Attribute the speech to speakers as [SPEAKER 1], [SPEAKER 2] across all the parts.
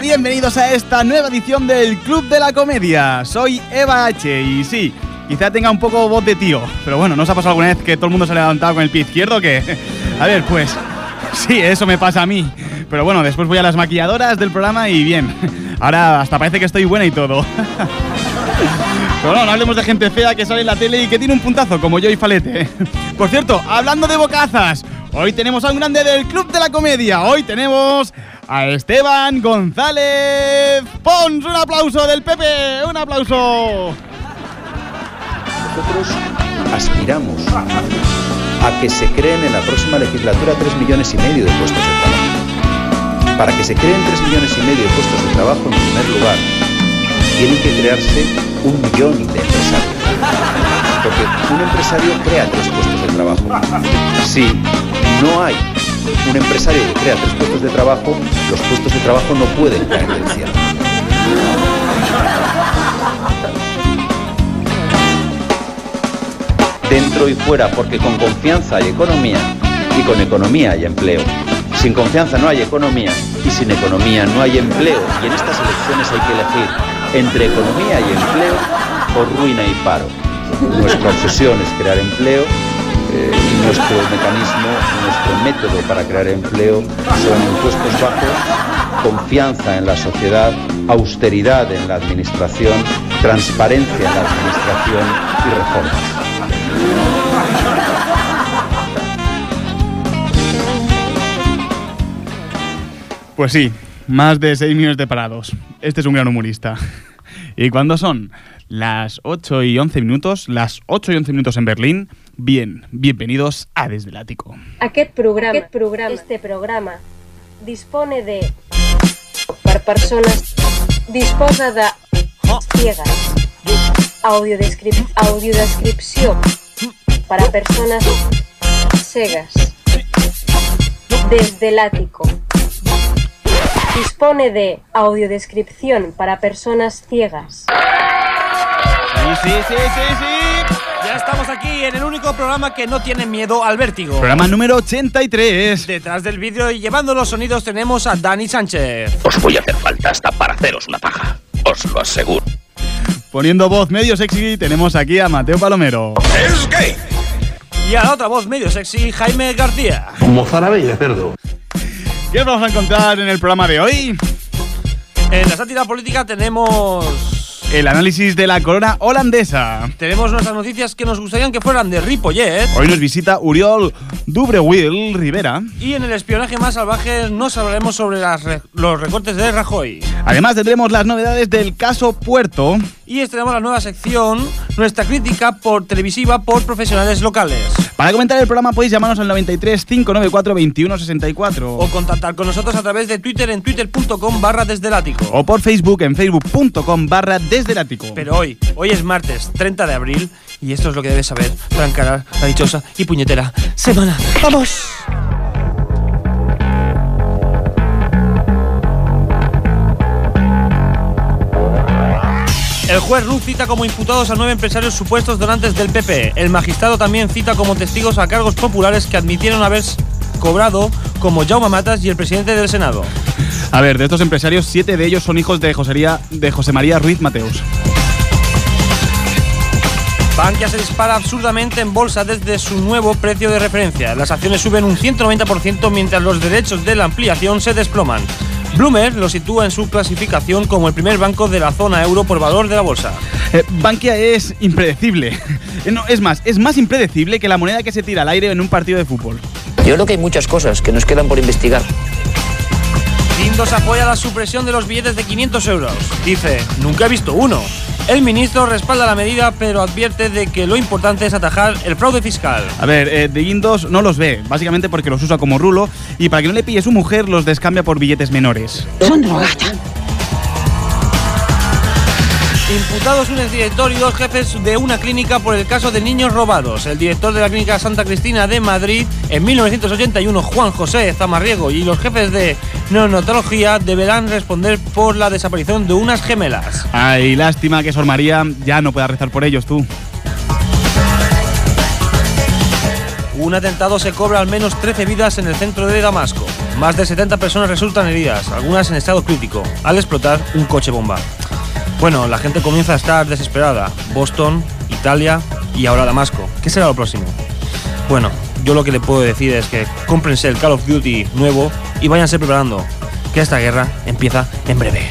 [SPEAKER 1] bienvenidos a esta nueva edición del Club de la Comedia. Soy Eva H. Y sí, quizá tenga un poco voz de tío, pero bueno, ¿no os ha pasado alguna vez que todo el mundo se ha levantado con el pie izquierdo? Que. A ver, pues. Sí, eso me pasa a mí. Pero bueno, después voy a las maquilladoras del programa y bien. Ahora hasta parece que estoy buena y todo. Pero bueno, no hablemos de gente fea que sale en la tele y que tiene un puntazo, como yo y Falete. Por cierto, hablando de bocazas, hoy tenemos a un grande del Club de la Comedia. Hoy tenemos a Esteban González Pons. Un aplauso del Pepe, un aplauso.
[SPEAKER 2] Nosotros aspiramos a que se creen en la próxima legislatura 3 millones y medio de puestos de trabajo. Para que se creen 3 millones y medio de puestos de trabajo, en primer lugar, tienen que crearse un millón de empresarios. Porque un empresario crea tres puestos de trabajo. Si no hay un empresario que crea tres puestos de trabajo, los puestos de trabajo no pueden caer del cielo. Dentro y fuera, porque con confianza hay economía y con economía hay empleo. Sin confianza no hay economía y sin economía no hay empleo. Y en estas elecciones hay que elegir entre economía y empleo o ruina y paro. Nuestra obsesión es crear empleo eh, y nuestro mecanismo, nuestro método para crear empleo son impuestos bajos, confianza en la sociedad, austeridad en la administración, transparencia en la administración y reformas.
[SPEAKER 1] Pues sí, más de 6 millones de parados. Este es un gran humorista. ¿Y cuándo son? Las 8 y 11 minutos, las 8 y 11 minutos en Berlín. Bien, bienvenidos a Desde el Ático.
[SPEAKER 3] Aquest programa, Aquest programa este programa, dispone de... Per persones, disposa de... Ciegas. Audiodescrip audiodescripció para persones cegas. Desde el Ático. Dispone de audiodescripción para personas ciegas.
[SPEAKER 4] Sí, sí, sí, sí, sí. Ya estamos aquí en el único programa que no tiene miedo al vértigo.
[SPEAKER 1] Programa número 83.
[SPEAKER 4] Detrás del vidrio y llevando los sonidos tenemos a Dani Sánchez.
[SPEAKER 5] Os voy a hacer falta hasta para haceros una paja. Os lo aseguro.
[SPEAKER 1] Poniendo voz medio sexy tenemos aquí a Mateo Palomero.
[SPEAKER 5] ¡Es gay!
[SPEAKER 4] Y a la otra voz medio sexy, Jaime García.
[SPEAKER 6] Como árabe y de cerdo.
[SPEAKER 1] ¿Qué vamos a encontrar en el programa de hoy?
[SPEAKER 4] En la sátira política tenemos...
[SPEAKER 1] El análisis de la corona holandesa.
[SPEAKER 4] Tenemos nuestras noticias que nos gustarían que fueran de Ripollet.
[SPEAKER 1] Hoy nos visita Uriol Dubreuil Rivera.
[SPEAKER 4] Y en el espionaje más salvaje nos hablaremos sobre las re los recortes de Rajoy.
[SPEAKER 1] Además tendremos las novedades del caso Puerto.
[SPEAKER 4] Y estrenamos la nueva sección, nuestra crítica por televisiva por profesionales locales.
[SPEAKER 1] Para comentar el programa podéis llamarnos al 93 594 2164
[SPEAKER 4] o contactar con nosotros a través de Twitter en twitter.com barra desde el ático
[SPEAKER 1] o por Facebook en facebook.com barra desde el ático.
[SPEAKER 4] Pero hoy, hoy es martes 30 de abril y esto es lo que debes saber para encarar la dichosa y puñetera semana. ¡Vamos! El juez Ruth cita como imputados a nueve empresarios supuestos donantes del PP. El magistrado también cita como testigos a cargos populares que admitieron haber cobrado, como Jaume Matas y el presidente del Senado.
[SPEAKER 1] A ver, de estos empresarios, siete de ellos son hijos de, Josería, de José María Ruiz Mateus.
[SPEAKER 4] Bankia se dispara absurdamente en bolsa desde su nuevo precio de referencia. Las acciones suben un 190% mientras los derechos de la ampliación se desploman. Bloomer lo sitúa en su clasificación como el primer banco de la zona euro por valor de la bolsa.
[SPEAKER 1] Eh, Bankia es impredecible. No, es más, es más impredecible que la moneda que se tira al aire en un partido de fútbol.
[SPEAKER 7] Yo creo que hay muchas cosas que nos quedan por investigar.
[SPEAKER 4] Guindos apoya la supresión de los billetes de 500 euros. Dice, nunca he visto uno. El ministro respalda la medida, pero advierte de que lo importante es atajar el fraude fiscal.
[SPEAKER 1] A ver, eh, de Guindos no los ve, básicamente porque los usa como rulo y para que no le pille su mujer los descambia por billetes menores.
[SPEAKER 8] Son drogatas.
[SPEAKER 4] Imputados un exdirector y dos jefes de una clínica por el caso de niños robados. El director de la clínica Santa Cristina de Madrid en 1981, Juan José Zamarriego, y los jefes de neonatología deberán responder por la desaparición de unas gemelas.
[SPEAKER 1] Ay, lástima que Sor María ya no pueda rezar por ellos, tú.
[SPEAKER 4] Un atentado se cobra al menos 13 vidas en el centro de Damasco. Más de 70 personas resultan heridas, algunas en estado crítico, al explotar un coche bomba. Bueno, la gente comienza a estar desesperada. Boston, Italia y ahora Damasco. ¿Qué será lo próximo? Bueno, yo lo que le puedo decir es que cómprense el Call of Duty nuevo y váyanse preparando, que esta guerra empieza en breve.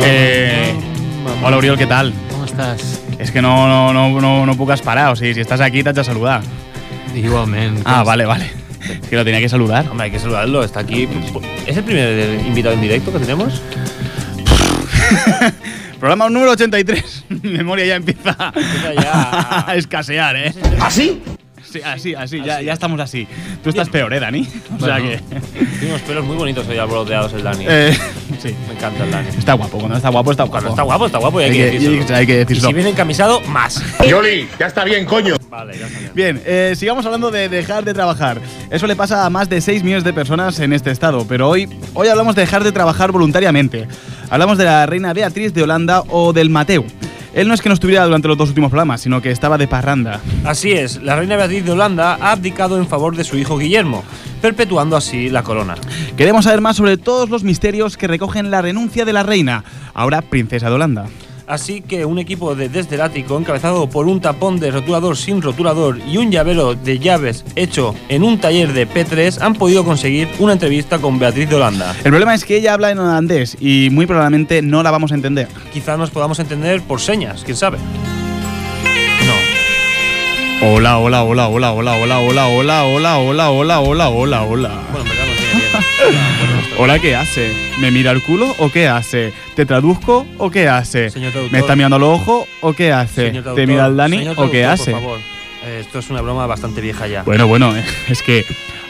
[SPEAKER 1] Eh, hola, Uriol, ¿qué tal?
[SPEAKER 6] ¿Cómo estàs?
[SPEAKER 1] Es que no, no, no, no, no puc esperar, o sigui, si estás aquí t'haig de saludar.
[SPEAKER 6] Igualment.
[SPEAKER 1] Ah, vale, vale. Es que lo tenía que saludar.
[SPEAKER 4] Hombre, hay que saludarlo, está aquí. ¿Es el primer invitado en directo que tenemos?
[SPEAKER 1] Programa número 83. Mi memoria ya empieza
[SPEAKER 4] ya. ¿Ah,
[SPEAKER 1] a escasear, ¿eh? ¿Así? Sí, así, así, ya, ya estamos así. Tú estás peor, ¿eh, Dani? O sea
[SPEAKER 6] Bueno.
[SPEAKER 1] que.
[SPEAKER 4] Tiene unos pelos muy bonitos hoy alboroteados el Dani.
[SPEAKER 1] eh, sí.
[SPEAKER 4] Me encanta el Dani.
[SPEAKER 1] Está guapo, cuando está guapo, está guapo.
[SPEAKER 4] Cuando está guapo, está guapo y hay,
[SPEAKER 1] Hay
[SPEAKER 4] que,
[SPEAKER 1] que-
[SPEAKER 4] decirlo.
[SPEAKER 1] hay que decirlo.
[SPEAKER 4] Y si viene encamisado, más.
[SPEAKER 8] Yoli, ya está bien, coño.
[SPEAKER 4] Vale, ya está bien.
[SPEAKER 1] Bien, eh, sigamos hablando de dejar de trabajar. Eso le pasa a más de 6 millones de personas en este estado, pero hoy, hoy hablamos de dejar de trabajar voluntariamente. Hablamos de la reina Beatriz de Holanda o del Mateu. Él no es que no estuviera durante los dos últimos programas, sino que estaba de parranda.
[SPEAKER 4] Así es, la reina Beatriz de Holanda ha abdicado en favor de su hijo Guillermo, perpetuando así la corona.
[SPEAKER 1] Queremos saber más sobre todos los misterios que recogen la renuncia de la reina, ahora princesa de Holanda.
[SPEAKER 4] Así que un equipo de Desde el Ático, encabezado por un tapón de rotulador sin rotulador y un llavero de llaves hecho en un taller de P3, han podido conseguir una entrevista con Beatriz de Holanda.
[SPEAKER 1] El problema es que ella habla en holandés y muy probablemente no la vamos a entender.
[SPEAKER 4] Quizá nos podamos entender por señas, quién sabe. No.
[SPEAKER 1] Hola, hola, hola, hola, hola, hola, hola, hola, hola, hola, hola, hola, hola, hola.
[SPEAKER 4] Bueno, en verdad no tiene Ah, bien.
[SPEAKER 1] Hola, ¿qué hace? ¿Me mira el culo o qué hace? ¿Te traduzco o qué hace?
[SPEAKER 4] Señor traductor.
[SPEAKER 1] ¿Me está mirando al ojo o qué hace?
[SPEAKER 4] Señor
[SPEAKER 1] ¿Te
[SPEAKER 4] traductor,
[SPEAKER 1] mira el Dani
[SPEAKER 4] señor
[SPEAKER 1] o qué
[SPEAKER 4] traductor,
[SPEAKER 1] hace?
[SPEAKER 4] Por favor. Eh, Esto es una broma bastante vieja ya.
[SPEAKER 1] Bueno, bueno, es que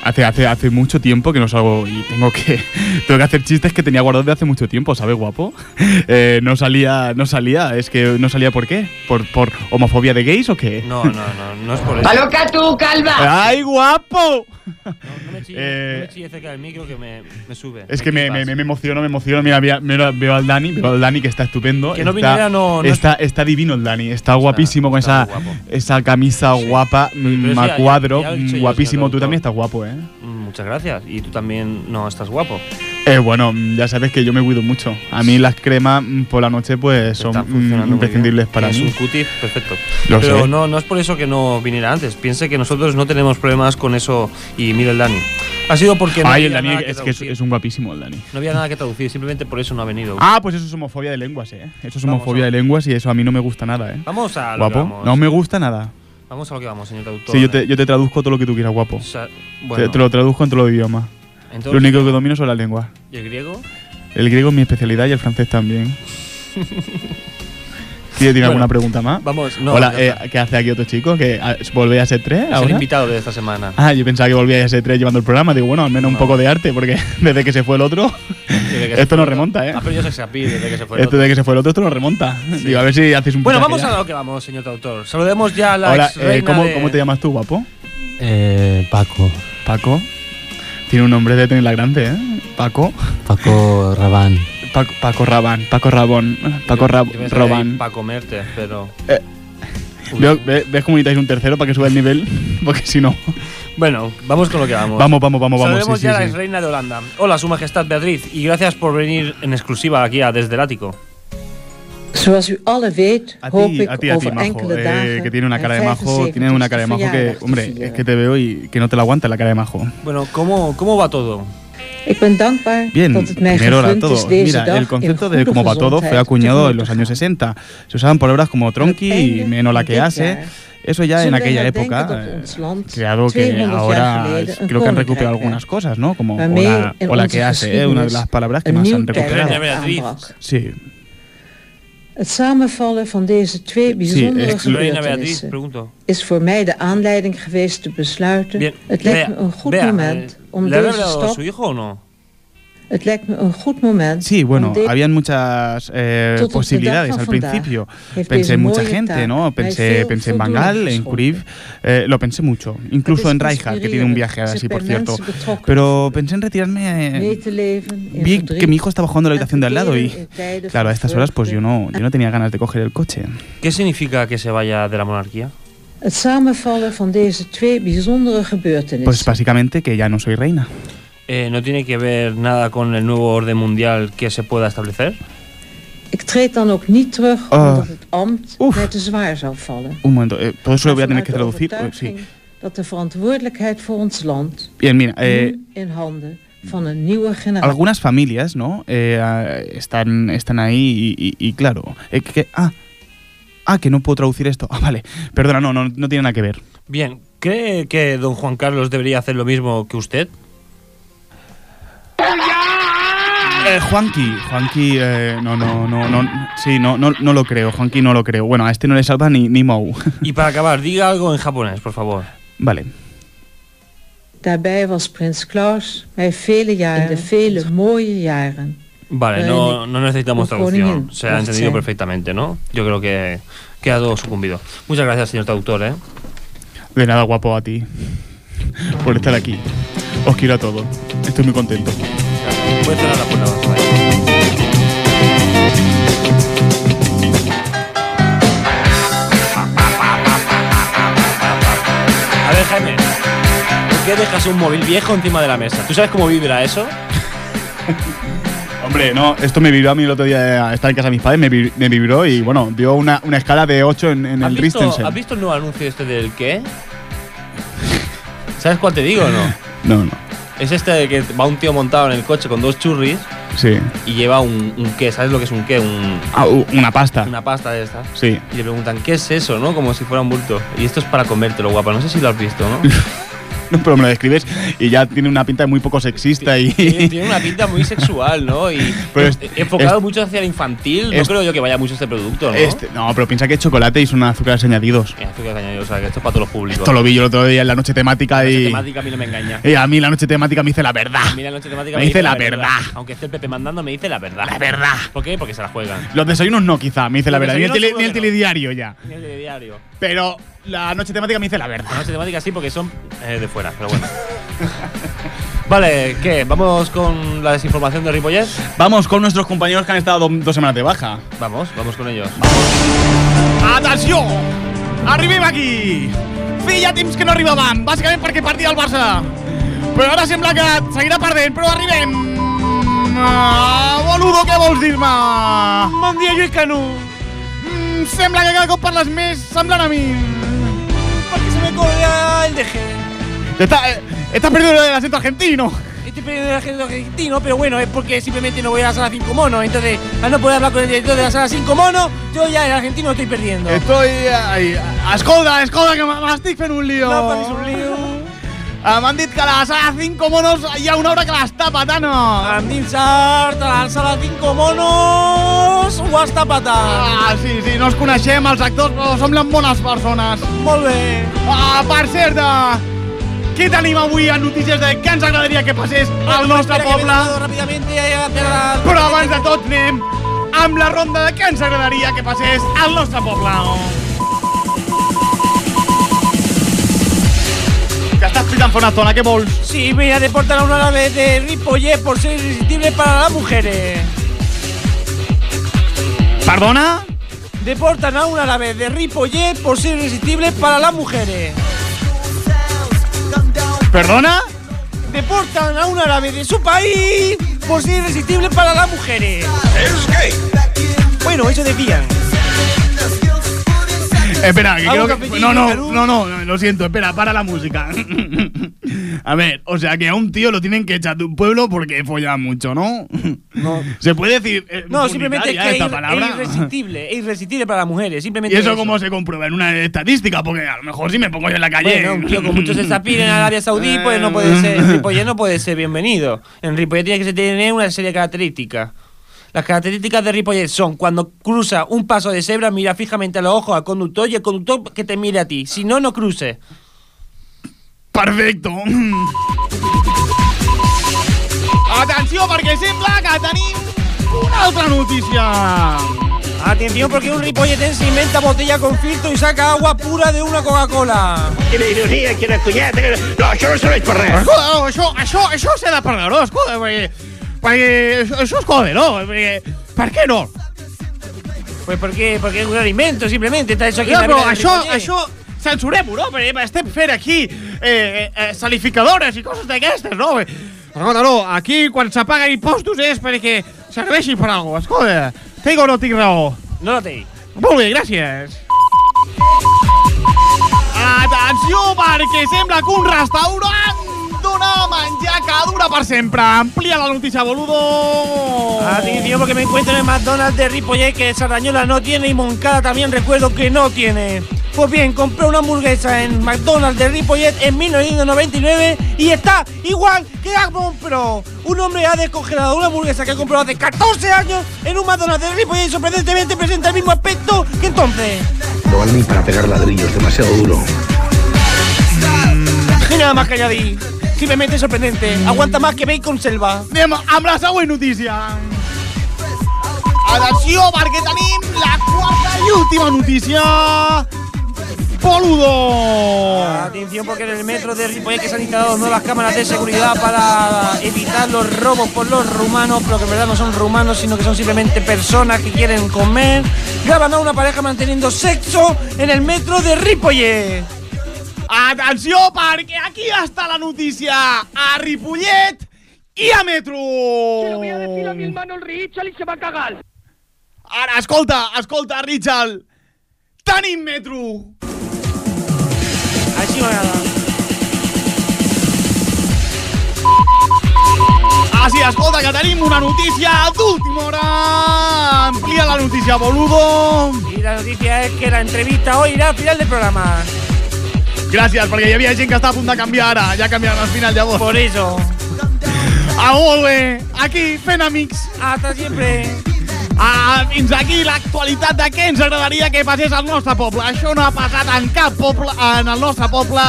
[SPEAKER 1] hace, hace, hace mucho tiempo que no salgo y tengo que, tengo que hacer chistes que tenía guardados de hace mucho tiempo, ¿sabes, guapo? Eh, no salía, no salía, es que no salía por qué? ¿Por, por homofobia de gays o qué?
[SPEAKER 4] No, no, no, no es por eso.
[SPEAKER 9] ¡Paloca tú, calva!
[SPEAKER 1] ¡Ay, guapo!
[SPEAKER 4] No, no me chilles,
[SPEAKER 1] Eh,
[SPEAKER 4] no me chilles cerca del micro que me, me sube.
[SPEAKER 1] Es que me, me,
[SPEAKER 4] flipas.
[SPEAKER 1] me emociono, me emociono. Mira, mira, mira, veo al Dani, veo al Dani que está estupendo.
[SPEAKER 4] Que no
[SPEAKER 1] está,
[SPEAKER 4] viniera, no- no es-
[SPEAKER 1] está, está divino el Dani, está guapísimo con
[SPEAKER 4] está
[SPEAKER 1] esa,
[SPEAKER 4] guapo.
[SPEAKER 1] esa camisa
[SPEAKER 4] Sí.
[SPEAKER 1] guapa, mm,
[SPEAKER 4] pero sí, ya-
[SPEAKER 1] macuadro, mm,
[SPEAKER 4] ya lo he dicho yo,
[SPEAKER 1] guapísimo.
[SPEAKER 4] señor
[SPEAKER 1] Tú
[SPEAKER 4] doctor.
[SPEAKER 1] también estás guapo, ¿eh?
[SPEAKER 4] Mm, Muchas gracias. Y tú también no estás guapo.
[SPEAKER 1] Eh, bueno, mm, ya sabes que yo me cuido mucho. A mí las cremas mm, por la noche pues son
[SPEAKER 4] Están
[SPEAKER 1] mm,
[SPEAKER 4] funcionando muy
[SPEAKER 1] imprescindibles
[SPEAKER 4] bien.
[SPEAKER 1] para
[SPEAKER 4] Tienes
[SPEAKER 1] mí.
[SPEAKER 4] un cutis perfecto.
[SPEAKER 1] Lo
[SPEAKER 4] Pero
[SPEAKER 1] sé.
[SPEAKER 4] no no es por eso que no viniera antes. Piense que nosotros no tenemos problemas con eso y mira el Dani. Ha sido porque no
[SPEAKER 1] Ay,
[SPEAKER 4] había
[SPEAKER 1] el Dani
[SPEAKER 4] nada que
[SPEAKER 1] es que es,
[SPEAKER 4] traducir.
[SPEAKER 1] es un guapísimo el Dani.
[SPEAKER 4] No había nada que traducir, simplemente por eso no ha venido.
[SPEAKER 1] Ah, pues eso es homofobia de lenguas, ¿eh? Eso es
[SPEAKER 4] Vamos,
[SPEAKER 1] homofobia
[SPEAKER 4] vamos.
[SPEAKER 1] de lenguas y eso a mí no me gusta nada, ¿eh?
[SPEAKER 4] Vamos a lo que
[SPEAKER 1] Guapo,
[SPEAKER 4] vamos.
[SPEAKER 1] no me gusta nada.
[SPEAKER 4] Vamos a lo que vamos, señor traductor.
[SPEAKER 1] Sí, yo te, yo te traduzco todo lo que tú quieras, guapo.
[SPEAKER 4] O sea,
[SPEAKER 1] Te-
[SPEAKER 4] bueno,
[SPEAKER 1] te lo traduzco en todos los idiomas.
[SPEAKER 4] entonces,
[SPEAKER 1] Lo único que domino son las lenguas.
[SPEAKER 4] ¿y el griego?
[SPEAKER 1] El griego es mi especialidad y el francés también. ¿Quiere tiene
[SPEAKER 4] Bueno,
[SPEAKER 1] alguna pregunta más?
[SPEAKER 4] Vamos, no.
[SPEAKER 1] Hola,
[SPEAKER 4] ya está.
[SPEAKER 1] eh, ¿qué hace aquí otro chico? ¿Que ah, volvéis a ser tres
[SPEAKER 4] es el
[SPEAKER 1] ahora?
[SPEAKER 4] invitado de esta semana.
[SPEAKER 1] Ah, yo pensaba que volvíais a ser tres llevando el programa. Digo, bueno, al menos un
[SPEAKER 4] No.
[SPEAKER 1] poco de arte, porque desde que se fue el otro,
[SPEAKER 4] Desde que
[SPEAKER 1] esto no
[SPEAKER 4] se fue Ah, el otro.
[SPEAKER 1] remonta, ¿eh?
[SPEAKER 4] Ha perdido ese apil desde que se fue el
[SPEAKER 1] Esto
[SPEAKER 4] otro.
[SPEAKER 1] desde que se fue el otro, esto no remonta. Digo, a ver si haces un
[SPEAKER 4] Bueno,
[SPEAKER 1] puntaje
[SPEAKER 4] vamos
[SPEAKER 1] ya.
[SPEAKER 4] a lo que vamos, señor traductor. Saludemos ya a la
[SPEAKER 1] Hola,
[SPEAKER 4] ex
[SPEAKER 1] eh,
[SPEAKER 4] reina
[SPEAKER 1] ¿cómo,
[SPEAKER 4] de-
[SPEAKER 1] ¿cómo te llamas tú, guapo?
[SPEAKER 6] Eh, Paco.
[SPEAKER 1] Paco. Tiene un nombre de tener la grande, ¿eh? Paco.
[SPEAKER 6] Paco Rabán.
[SPEAKER 1] Paco, Paco Rabán. Paco Rabón. Paco
[SPEAKER 4] Yo-
[SPEAKER 1] Rab-
[SPEAKER 4] yo pensaba que
[SPEAKER 1] Robán. Eh,
[SPEAKER 4] era Paco Merte, pero.
[SPEAKER 1] Veo- ve- ¿Ves cómo necesitáis un tercero para que suba el nivel? Porque si no.
[SPEAKER 4] Bueno, vamos con lo que vamos.
[SPEAKER 1] Vamos, vamos, vamos, vamos.
[SPEAKER 4] Saludemos
[SPEAKER 1] sí,
[SPEAKER 4] ya
[SPEAKER 1] sí,
[SPEAKER 4] a la
[SPEAKER 1] sí.
[SPEAKER 4] reina de Holanda. Hola, Su Majestad Beatriz, y gracias por venir en exclusiva aquí a Desde el Ático.
[SPEAKER 9] Zoals u allen weet,
[SPEAKER 1] A
[SPEAKER 9] hoop
[SPEAKER 1] ti,
[SPEAKER 9] ik
[SPEAKER 1] a ti, a ti,
[SPEAKER 9] over
[SPEAKER 1] majo.
[SPEAKER 9] enkele
[SPEAKER 1] eh,
[SPEAKER 9] dagen
[SPEAKER 1] que tiene una cara de majo, tiene una cara de majo que, hombre, es que te veo y que no te la aguanta la cara de majo.
[SPEAKER 4] Bueno, ¿cómo, cómo va todo?
[SPEAKER 9] Ik ben dankbaar
[SPEAKER 1] Bien,
[SPEAKER 9] dat het mij
[SPEAKER 1] primero era
[SPEAKER 9] gegund
[SPEAKER 1] todo.
[SPEAKER 9] is deze
[SPEAKER 1] Mira,
[SPEAKER 9] dag
[SPEAKER 1] el concepto
[SPEAKER 9] in
[SPEAKER 1] de
[SPEAKER 9] goede
[SPEAKER 1] como va todo fue
[SPEAKER 9] gezondheid
[SPEAKER 1] acuñado en
[SPEAKER 9] tegemoet
[SPEAKER 1] los
[SPEAKER 9] te
[SPEAKER 1] años
[SPEAKER 9] gaan.
[SPEAKER 1] 60. Se usaban palabras como tronqui y
[SPEAKER 9] Depende
[SPEAKER 1] menos la que
[SPEAKER 9] de
[SPEAKER 1] hace.
[SPEAKER 9] cada.
[SPEAKER 1] Eso ya en
[SPEAKER 9] Zullen wij
[SPEAKER 1] aquella
[SPEAKER 9] denken
[SPEAKER 1] época,
[SPEAKER 9] dat
[SPEAKER 1] eh,
[SPEAKER 9] ons land
[SPEAKER 1] creado que
[SPEAKER 9] 200 jaar
[SPEAKER 1] ahora
[SPEAKER 9] geleden een
[SPEAKER 1] creo que han
[SPEAKER 9] koninkrijk
[SPEAKER 1] recuperado algunas
[SPEAKER 9] werd.
[SPEAKER 1] cosas, ¿no? Como
[SPEAKER 9] Waarmee
[SPEAKER 1] hola,
[SPEAKER 9] in
[SPEAKER 1] hola
[SPEAKER 9] onze
[SPEAKER 1] que hace, eh, una de
[SPEAKER 9] geschiedenis
[SPEAKER 1] las palabras que
[SPEAKER 9] een
[SPEAKER 1] más
[SPEAKER 9] nieuw
[SPEAKER 1] han recuperado.
[SPEAKER 4] tijdperk.
[SPEAKER 9] tijdperk
[SPEAKER 4] Beatriz.
[SPEAKER 9] aanbrak.
[SPEAKER 1] Sí,
[SPEAKER 9] Het samenvallen van deze twee
[SPEAKER 1] echt.
[SPEAKER 9] bijzondere
[SPEAKER 4] Reina Beatriz,
[SPEAKER 9] gebeurtenissen
[SPEAKER 4] pregunto.
[SPEAKER 9] is voor mij de aanleiding geweest te besluiten.
[SPEAKER 4] Bien,
[SPEAKER 9] Het lijkt
[SPEAKER 4] Bea-
[SPEAKER 9] me een goed
[SPEAKER 4] Bea,
[SPEAKER 9] moment
[SPEAKER 4] eh,
[SPEAKER 9] om
[SPEAKER 4] ¿Le ha
[SPEAKER 9] deze
[SPEAKER 4] revelado a
[SPEAKER 9] stap
[SPEAKER 4] su hijo o no?
[SPEAKER 9] Het lijkt me een goed moment.
[SPEAKER 1] Sí, bueno, ah,
[SPEAKER 9] om dit-
[SPEAKER 1] habían muchas eh,
[SPEAKER 9] Tot op de
[SPEAKER 1] posibilidades
[SPEAKER 9] dag
[SPEAKER 1] al
[SPEAKER 9] van vandaag
[SPEAKER 1] principio.
[SPEAKER 9] heeft
[SPEAKER 1] Pensé
[SPEAKER 9] deze
[SPEAKER 1] en mucha
[SPEAKER 9] mooie
[SPEAKER 1] gente,
[SPEAKER 9] taak
[SPEAKER 1] ¿no?
[SPEAKER 9] mij
[SPEAKER 1] Pensé,
[SPEAKER 9] veel
[SPEAKER 1] pensé en
[SPEAKER 9] voldoening
[SPEAKER 1] Bangal, en
[SPEAKER 9] geschonken.
[SPEAKER 1] Kuriv, eh, lo pensé mucho, incluso
[SPEAKER 9] Het
[SPEAKER 1] en
[SPEAKER 9] is
[SPEAKER 1] Rijkaard, que tiene un
[SPEAKER 9] inspirerend.
[SPEAKER 1] viaje
[SPEAKER 9] Ze
[SPEAKER 1] así, por
[SPEAKER 9] bij
[SPEAKER 1] cierto.
[SPEAKER 9] mensen betrokken
[SPEAKER 1] Pero pensé en retirarme. eh,
[SPEAKER 9] mee te leven in
[SPEAKER 1] vi
[SPEAKER 9] verdriet
[SPEAKER 1] que mi hijo estaba jugando en la
[SPEAKER 9] en
[SPEAKER 1] habitación de al lado
[SPEAKER 9] verdriet,
[SPEAKER 1] y,
[SPEAKER 9] in tijden
[SPEAKER 1] claro, a
[SPEAKER 9] van
[SPEAKER 1] estas horas, pues yo
[SPEAKER 9] vreugde.
[SPEAKER 1] no, yo no tenía ganas de coger el coche.
[SPEAKER 4] ¿Qué significa que se vaya de la monarquía?
[SPEAKER 9] Het samenvallen van deze twee bijzondere
[SPEAKER 1] Pues
[SPEAKER 9] gebeurtenissen.
[SPEAKER 1] básicamente que ya no soy reina.
[SPEAKER 4] Eh, ¿No tiene que ver nada con el nuevo orden mundial que se pueda establecer?
[SPEAKER 9] Ik treed dan ook niet terug
[SPEAKER 1] Ah.
[SPEAKER 9] omdat het ambt
[SPEAKER 1] Oef.
[SPEAKER 9] mij te zwaar zou vallen.
[SPEAKER 1] Un momento, eh, todo eso lo voy a
[SPEAKER 9] Maar
[SPEAKER 1] tener que
[SPEAKER 9] vanuit de
[SPEAKER 1] traducir. eh,
[SPEAKER 9] overtuiging
[SPEAKER 1] sí.
[SPEAKER 9] Dat de verantwoordelijkheid voor ons land
[SPEAKER 1] Bien, mira, eh,
[SPEAKER 9] nu in handen van een nieuwe generatie.
[SPEAKER 1] algunas familias, ¿no? Eh, ah, están, están ahí y, y- y claro. eh, que, ah, ah, que no puedo traducir esto. Ah, vale. Perdona, no, no, no tiene nada que ver.
[SPEAKER 4] Bien, ¿cree que don Juan Carlos debería hacer lo mismo que usted?
[SPEAKER 1] Eh, Juanqui, Juanqui, eh, no, no, no, no, sí, no, no, no lo creo, Juanqui no lo creo. Bueno, a este no le salva ni, ni Mou.
[SPEAKER 4] Y para acabar, diga algo en japonés, por favor.
[SPEAKER 1] vale.
[SPEAKER 9] Daarbij was prins Klaus mij vele jaren, de vele mooie jaren,
[SPEAKER 4] Vale, no, no necesitamos traducción. Se ha entendido perfectamente, ¿no? Yo creo que queda todo sucumbido. Muchas gracias, señor traductor, ¿eh?
[SPEAKER 1] De nada guapo a ti por estar aquí. Os quiero a todos. Estoy muy contento.
[SPEAKER 4] Puedes cerrar la puerta, por favor. A ver, Jaime, ¿por qué dejas un móvil viejo encima de la mesa? ¿Tú sabes cómo vibra eso?
[SPEAKER 1] Hombre, no, esto me vibró a mí el otro día eh, estar en casa de mis padres, me, vi- me vibró y bueno, dio una, una escala de 8 en, en
[SPEAKER 4] ¿Has
[SPEAKER 1] el
[SPEAKER 4] visto,
[SPEAKER 1] Ristensen.
[SPEAKER 4] ¿Has visto el nuevo anuncio este del qué? ¿Sabes cuál te digo o no?
[SPEAKER 1] No, no.
[SPEAKER 4] Es este de que va un tío montado en el coche con dos churris
[SPEAKER 1] Sí.
[SPEAKER 4] y lleva un, un qué. ¿Sabes lo que es un qué? Un-
[SPEAKER 1] Ah, u- una pasta.
[SPEAKER 4] una pasta de estas.
[SPEAKER 1] Sí.
[SPEAKER 4] Y le preguntan, ¿qué es eso? ¿No? Como si fuera un bulto. Y esto es para comértelo, guapa. No sé si lo has visto, ¿no?
[SPEAKER 1] No, pero me lo describes y ya tiene una pinta de muy poco sexista y.
[SPEAKER 4] Tiene tiene una pinta muy sexual, ¿no? Y e-,
[SPEAKER 1] Pero es-
[SPEAKER 4] enfocado
[SPEAKER 1] es-
[SPEAKER 4] mucho hacia el infantil. no
[SPEAKER 1] es-
[SPEAKER 4] creo yo que vaya mucho este producto, ¿no?
[SPEAKER 1] Este- no, pero piensa que es chocolate y son azúcares añadidos.
[SPEAKER 4] Mira, esto que has añadido, o sea, que esto es para todos los públicos.
[SPEAKER 1] Esto lo vi yo el otro día en la noche temática
[SPEAKER 4] La noche
[SPEAKER 1] y.
[SPEAKER 4] temática a mí no me engaña.
[SPEAKER 1] y a mí la noche temática me dice la verdad.
[SPEAKER 4] A mí la noche temática
[SPEAKER 1] Me dice la verdad.
[SPEAKER 4] Aunque esté el Pepe mandando, me dice la verdad.
[SPEAKER 1] La verdad.
[SPEAKER 4] ¿Por qué? Porque se la juegan.
[SPEAKER 1] Los desayunos no, quizá, me dice la
[SPEAKER 4] Los
[SPEAKER 1] verdad. Ni el,
[SPEAKER 4] desayunos
[SPEAKER 1] tele- ni el
[SPEAKER 4] seguro que no.
[SPEAKER 1] telediario ya.
[SPEAKER 4] En el diario.
[SPEAKER 1] Pero la noche temática me dice la verdad.
[SPEAKER 4] La noche temática sí, porque son eh, de fuera, pero bueno. vale, ¿qué? ¿Vamos con la desinformación de Ripollet?
[SPEAKER 1] Vamos con nuestros compañeros que han estado do- dos semanas de baja.
[SPEAKER 4] Vamos, vamos con ellos.
[SPEAKER 1] Atenció! Arribem aquí! Feia temps que no arribàvem, bàsicament perquè perdia el Barça. Però ara sembla que seguirà perdent, però arribem! Ah, boludo, què vols dir-me? Bon dia, Lluís Canú. Mm, sembla que cada cop parles més semblant a mi.
[SPEAKER 4] Porque se me corre el deje.
[SPEAKER 1] Está, eh, estás perdiendo el acento argentino.
[SPEAKER 4] Estoy perdiendo el acento argentino, pero bueno, es porque simplemente no voy a la sala 5 mono. Entonces, al no poder hablar con el director de la sala 5 mono, yo ya el argentino estoy perdiendo.
[SPEAKER 1] Estoy... Ai, escolta, escolta, que m'estic fent un lío.
[SPEAKER 4] No facis un lío.
[SPEAKER 1] Ah, M'han dit que a la sala 5 monos hi ha una hora que les tapa, Tano.
[SPEAKER 4] Endinsar-te a la sala 5 monos ho has tapat.
[SPEAKER 1] Ah, sí, sí, no els coneixem, els actors, però semblen bones persones.
[SPEAKER 4] Molt bé.
[SPEAKER 1] Ah, per cert, ah, què tenim avui a notícies de què ens agradaria que passés al nostre poble?
[SPEAKER 4] Ràpidamente a hacer la-
[SPEAKER 1] Però abans de tot anem amb la ronda de què ens agradaria que passés al nostre poble. Que estàs pitant fa una estona, què vols?
[SPEAKER 4] Sí, voy a deportar a una nave de Ripollet por ser irresistible para las mujeres.
[SPEAKER 1] Perdona?
[SPEAKER 4] Deportan a una nave de Ripollet por ser irresistible para las mujeres.
[SPEAKER 1] Perdona?
[SPEAKER 4] Deportan a una nave de su país por ser irresistible para las mujeres. Bueno, eso decían.
[SPEAKER 1] Eh, Espera, que
[SPEAKER 4] Hago
[SPEAKER 1] creo que...
[SPEAKER 4] cafetín,
[SPEAKER 1] No, no,
[SPEAKER 4] Perú.
[SPEAKER 1] no, no, no, lo siento, espera, para la música. a ver, o sea que a un tío lo tienen que echar de un pueblo porque folla mucho, ¿no?
[SPEAKER 4] No.
[SPEAKER 1] ¿Se puede decir eh,
[SPEAKER 4] No, simplemente es
[SPEAKER 1] publicar
[SPEAKER 4] que
[SPEAKER 1] ya
[SPEAKER 4] es
[SPEAKER 1] esta
[SPEAKER 4] irre- es
[SPEAKER 1] palabra?
[SPEAKER 4] irresistible, es irresistible para las mujeres,
[SPEAKER 1] ¿Y
[SPEAKER 4] simplemente
[SPEAKER 1] eso cómo se comprueba? ¿En una estadística? Porque a lo mejor si me pongo yo en la calle...
[SPEAKER 4] Bueno, un tío con muchos desafíos en Arabia Saudí, pues no puede ser, en Ripollet no puede ser bienvenido. En Ripollet tiene que ser- tener una serie de características. Las características de Ripollet son cuando cruza un paso de cebra, mira fijamente a los ojos al conductor y el conductor que te mire a ti. Si no, no cruces.
[SPEAKER 1] Perfecto.
[SPEAKER 5] Atenció, perquè sembla que tenim una altra notícia.
[SPEAKER 4] Atención porque un ripolletense inventa botella con filtro y saca agua pura de una Coca-Cola.
[SPEAKER 10] Quina ironia, quina cunyeta... Quina... No, això no serveix per res.
[SPEAKER 5] Escolta, no, això, això, això s'ha de parlar, no? Escolta, perquè, perquè això- això és code, no? Perquè, per què no?
[SPEAKER 4] Pues porque, porque es un alimento, simplemente está hecho aquí.
[SPEAKER 5] Ja,
[SPEAKER 4] en la
[SPEAKER 5] però
[SPEAKER 4] vida del
[SPEAKER 5] això,
[SPEAKER 4] ripollet.
[SPEAKER 5] això censurem-ho, no? Perquè estem fent aquí eh, eh, salificadores i coses d'aquestes, no? Escolta, no, aquí quan s'apaga impostos és perquè serveixi per alguna cosa. Escolta, tinc o no tinc raó?
[SPEAKER 4] No lo tenéis.
[SPEAKER 5] Molt bé, gràcies. Atenció, perquè sembla que un restaurant dona menjar que dura per sempre. Amplia la notícia, boludo.
[SPEAKER 4] Atención porque me encuentro en el McDonald's de Ripollet que Sardañola no tiene y Moncada también recuerdo que no tiene. Pues bien, compré una hamburguesa en McDonald's de Ripollet en 1999 y está igual que la compró. Un hombre ha descongelado una hamburguesa que compró hace 14 años en un McDonald's de Ripollet y sorprendentemente presenta el mismo aspecto que entonces.
[SPEAKER 10] No val ni para pegar ladrillos, demasiado duro.
[SPEAKER 4] Y nada más que añadir. Simplemente sorprendente. Aguanta más que bacon selva.
[SPEAKER 5] Anem amb la següent notícia. Atenció, perquè tenim la quarta i última notícia. Boludo.
[SPEAKER 4] Atención porque en el metro de Ripollet que se han instalado nuevas cámaras de seguridad para evitar los robos por los rumanos, pero que en verdad no son rumanos, sino que son simplemente personas que quieren comer. Graban a una pareja manteniendo sexo en el metro de Ripollet.
[SPEAKER 5] Atenció, perquè aquí està la notícia. A Ripollet i a Metro. Ara, escolta, escolta, Richard. Tenim Metro.
[SPEAKER 4] Así va nada.
[SPEAKER 5] Ah, sí, escolta, que tenim una notícia d'última hora. Amplia la notícia, boludo.
[SPEAKER 4] Y la noticia es que la entrevista hoy irá al final del programa.
[SPEAKER 5] Gràcies, perquè hi havia gent que estava a punt de canviar ara. Ja canviaran al final, llavors.
[SPEAKER 4] Por eso,
[SPEAKER 5] Ah, molt bé. Aquí, fent amics.
[SPEAKER 4] hasta siempre.
[SPEAKER 5] Ah, fins aquí l'actualitat de què ens agradaria que passés al nostre poble. Això no ha passat en cap poble, en el nostre poble,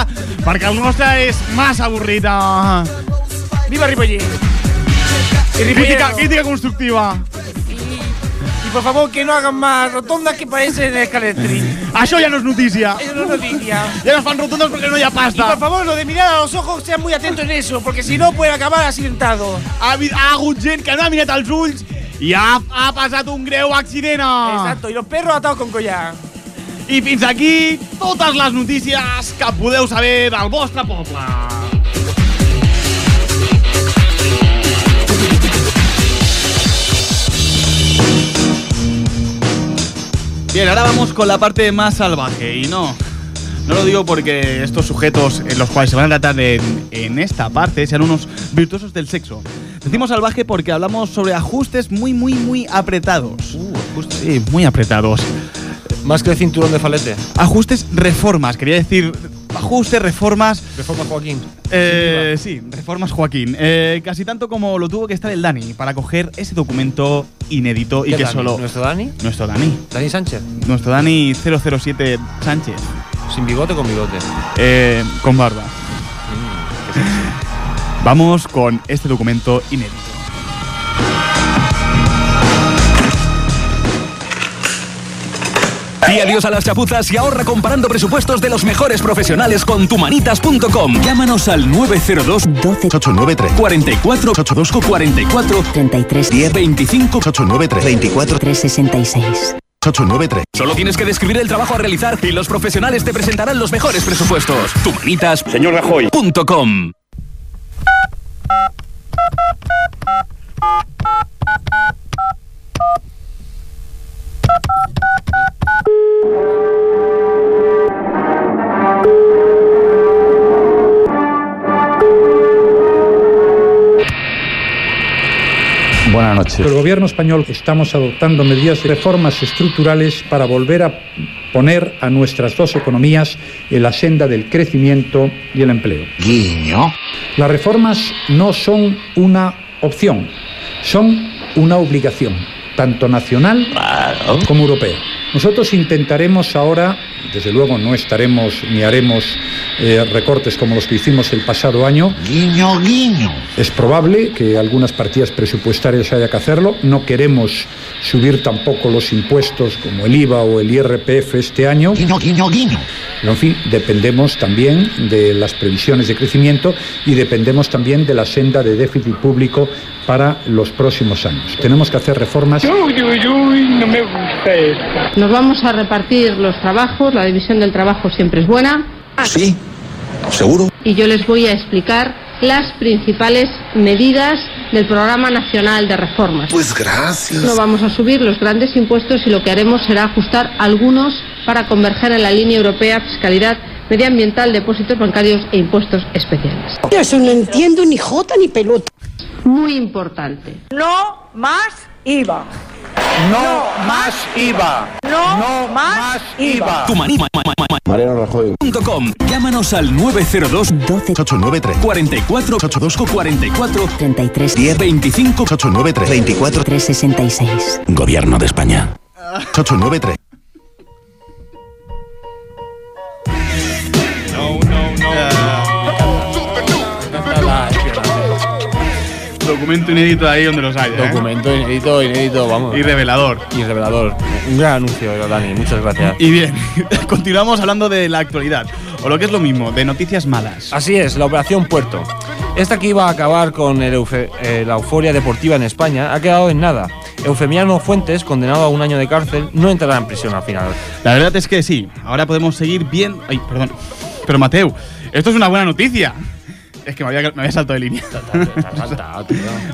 [SPEAKER 5] perquè el nostre és massa avorrit. ah.
[SPEAKER 4] Viva Ripollet.
[SPEAKER 5] Crítica,
[SPEAKER 4] Y Ripollet.
[SPEAKER 5] crítica constructiva.
[SPEAKER 4] Y por favor que no hagan más rotondas que parecen escaletri.
[SPEAKER 5] Això ja no és notícia.
[SPEAKER 4] Eso no es noticia.
[SPEAKER 5] Ja no es fan rotondes perquè no hi ha
[SPEAKER 4] Y por
[SPEAKER 5] pasta.
[SPEAKER 4] favor, lo de mirar a los ojos, sean muy atentos en eso, porque si no pueden acabar accidentado.
[SPEAKER 5] Ha, habi- ha hagut gent que no ha mirat els ulls i ha, ha passat un greu accident. ah.
[SPEAKER 4] Exacto, y los perros atados con collar.
[SPEAKER 5] I fins aquí totes les notícies que podeu saber del vostre poble. Bien, ahora vamos con la parte más salvaje y no. No lo digo porque estos sujetos en los cuales se van a tratar en, en esta parte sean unos virtuosos del sexo. Decimos salvaje porque hablamos sobre ajustes muy, muy, muy apretados. Sí, muy apretados.
[SPEAKER 4] Uh, Más que el cinturón de falete.
[SPEAKER 5] Ajustes, reformas, quería decir. Ajustes, reformas.
[SPEAKER 4] Reforma Joaquín.
[SPEAKER 5] eh, sí, reformas, Joaquín. Eh, casi tanto como lo tuvo que estar el Dani para coger ese documento inédito y que solo.
[SPEAKER 4] ¿Nuestro Dani?
[SPEAKER 5] Nuestro Dani.
[SPEAKER 4] Dani Sánchez.
[SPEAKER 5] Nuestro Dani 007 Sánchez.
[SPEAKER 4] Sin bigote con bigote.
[SPEAKER 5] eh, con barba.
[SPEAKER 4] Mm.
[SPEAKER 5] Vamos con este documento inédito.
[SPEAKER 11] Di adiós a las chapuzas y ahorra comparando presupuestos de los mejores profesionales con tumanitas.com. Llámanos al 902
[SPEAKER 10] 12, 8, 9, 3,
[SPEAKER 11] 44 82 44
[SPEAKER 12] 33
[SPEAKER 11] 10 25.
[SPEAKER 10] 8, 9, 3, 24,
[SPEAKER 12] 366.
[SPEAKER 10] 8, 9, 3.
[SPEAKER 11] Solo tienes que describir el trabajo a realizar y los profesionales te presentarán los mejores presupuestos.
[SPEAKER 10] Señor Rajoy.
[SPEAKER 11] Tumanitas.com.
[SPEAKER 13] Buenas noches.
[SPEAKER 12] El gobierno español estamos adoptando medidas de reformas estructurales para volver a poner a nuestras dos economías en la senda del crecimiento y el empleo.
[SPEAKER 10] Guiño.
[SPEAKER 12] Las reformas no son una opción, son una obligación. tanto nacional como europea. Nosotros intentaremos ahora, desde luego no estaremos ni haremos eh, recortes como los que hicimos el pasado año. Guiño, guiño. Es probable que algunas partidas presupuestarias haya que hacerlo. No queremos subir tampoco los impuestos como el IVA o el IRPF este año. Guiño, guiño, guiño. Pero en fin, dependemos también de las previsiones de crecimiento y dependemos también de la senda de déficit público para los próximos años. Tenemos que hacer reformas.
[SPEAKER 14] Uy, uy, uy, no me gusta esto.
[SPEAKER 10] Nos vamos a repartir los trabajos, la división del trabajo siempre es buena.
[SPEAKER 15] Sí, seguro.
[SPEAKER 10] Y yo les voy a explicar las principales medidas del Programa Nacional de Reformas.
[SPEAKER 15] Pues gracias.
[SPEAKER 10] No vamos a subir los grandes impuestos y lo que haremos será ajustar algunos para converger en la línea europea fiscalidad medioambiental, depósitos bancarios e impuestos especiales.
[SPEAKER 16] Yo eso no entiendo ni jota ni pelota.
[SPEAKER 10] Muy importante.
[SPEAKER 16] No más IVA.
[SPEAKER 8] No más IVA.
[SPEAKER 16] No, más IVA.
[SPEAKER 11] Mariano Rajoy.com. Llámanos al 902 12 893 44 825 44 33 10 25 893 24 366. Gobierno de España. 893.
[SPEAKER 1] Documento inédito ahí donde los haya. ¿eh?
[SPEAKER 4] Documento inédito, inédito, vamos.
[SPEAKER 1] Y revelador.
[SPEAKER 4] Y revelador. Un gran anuncio, Dani. Muchas gracias.
[SPEAKER 1] Y bien, continuamos hablando de la actualidad, o lo que es lo mismo, de noticias malas.
[SPEAKER 4] Así es, la Operación Puerto. Esta que iba a acabar con el eufe- eh, la euforia deportiva en España ha quedado en nada. Eufemiano Fuentes, condenado a un año de cárcel, no entrará en prisión al final.
[SPEAKER 1] La verdad es que sí, ahora podemos seguir bien. Ay, perdón. Pero Mateo, esto es una buena noticia. Es que me había, me había saltado de línea.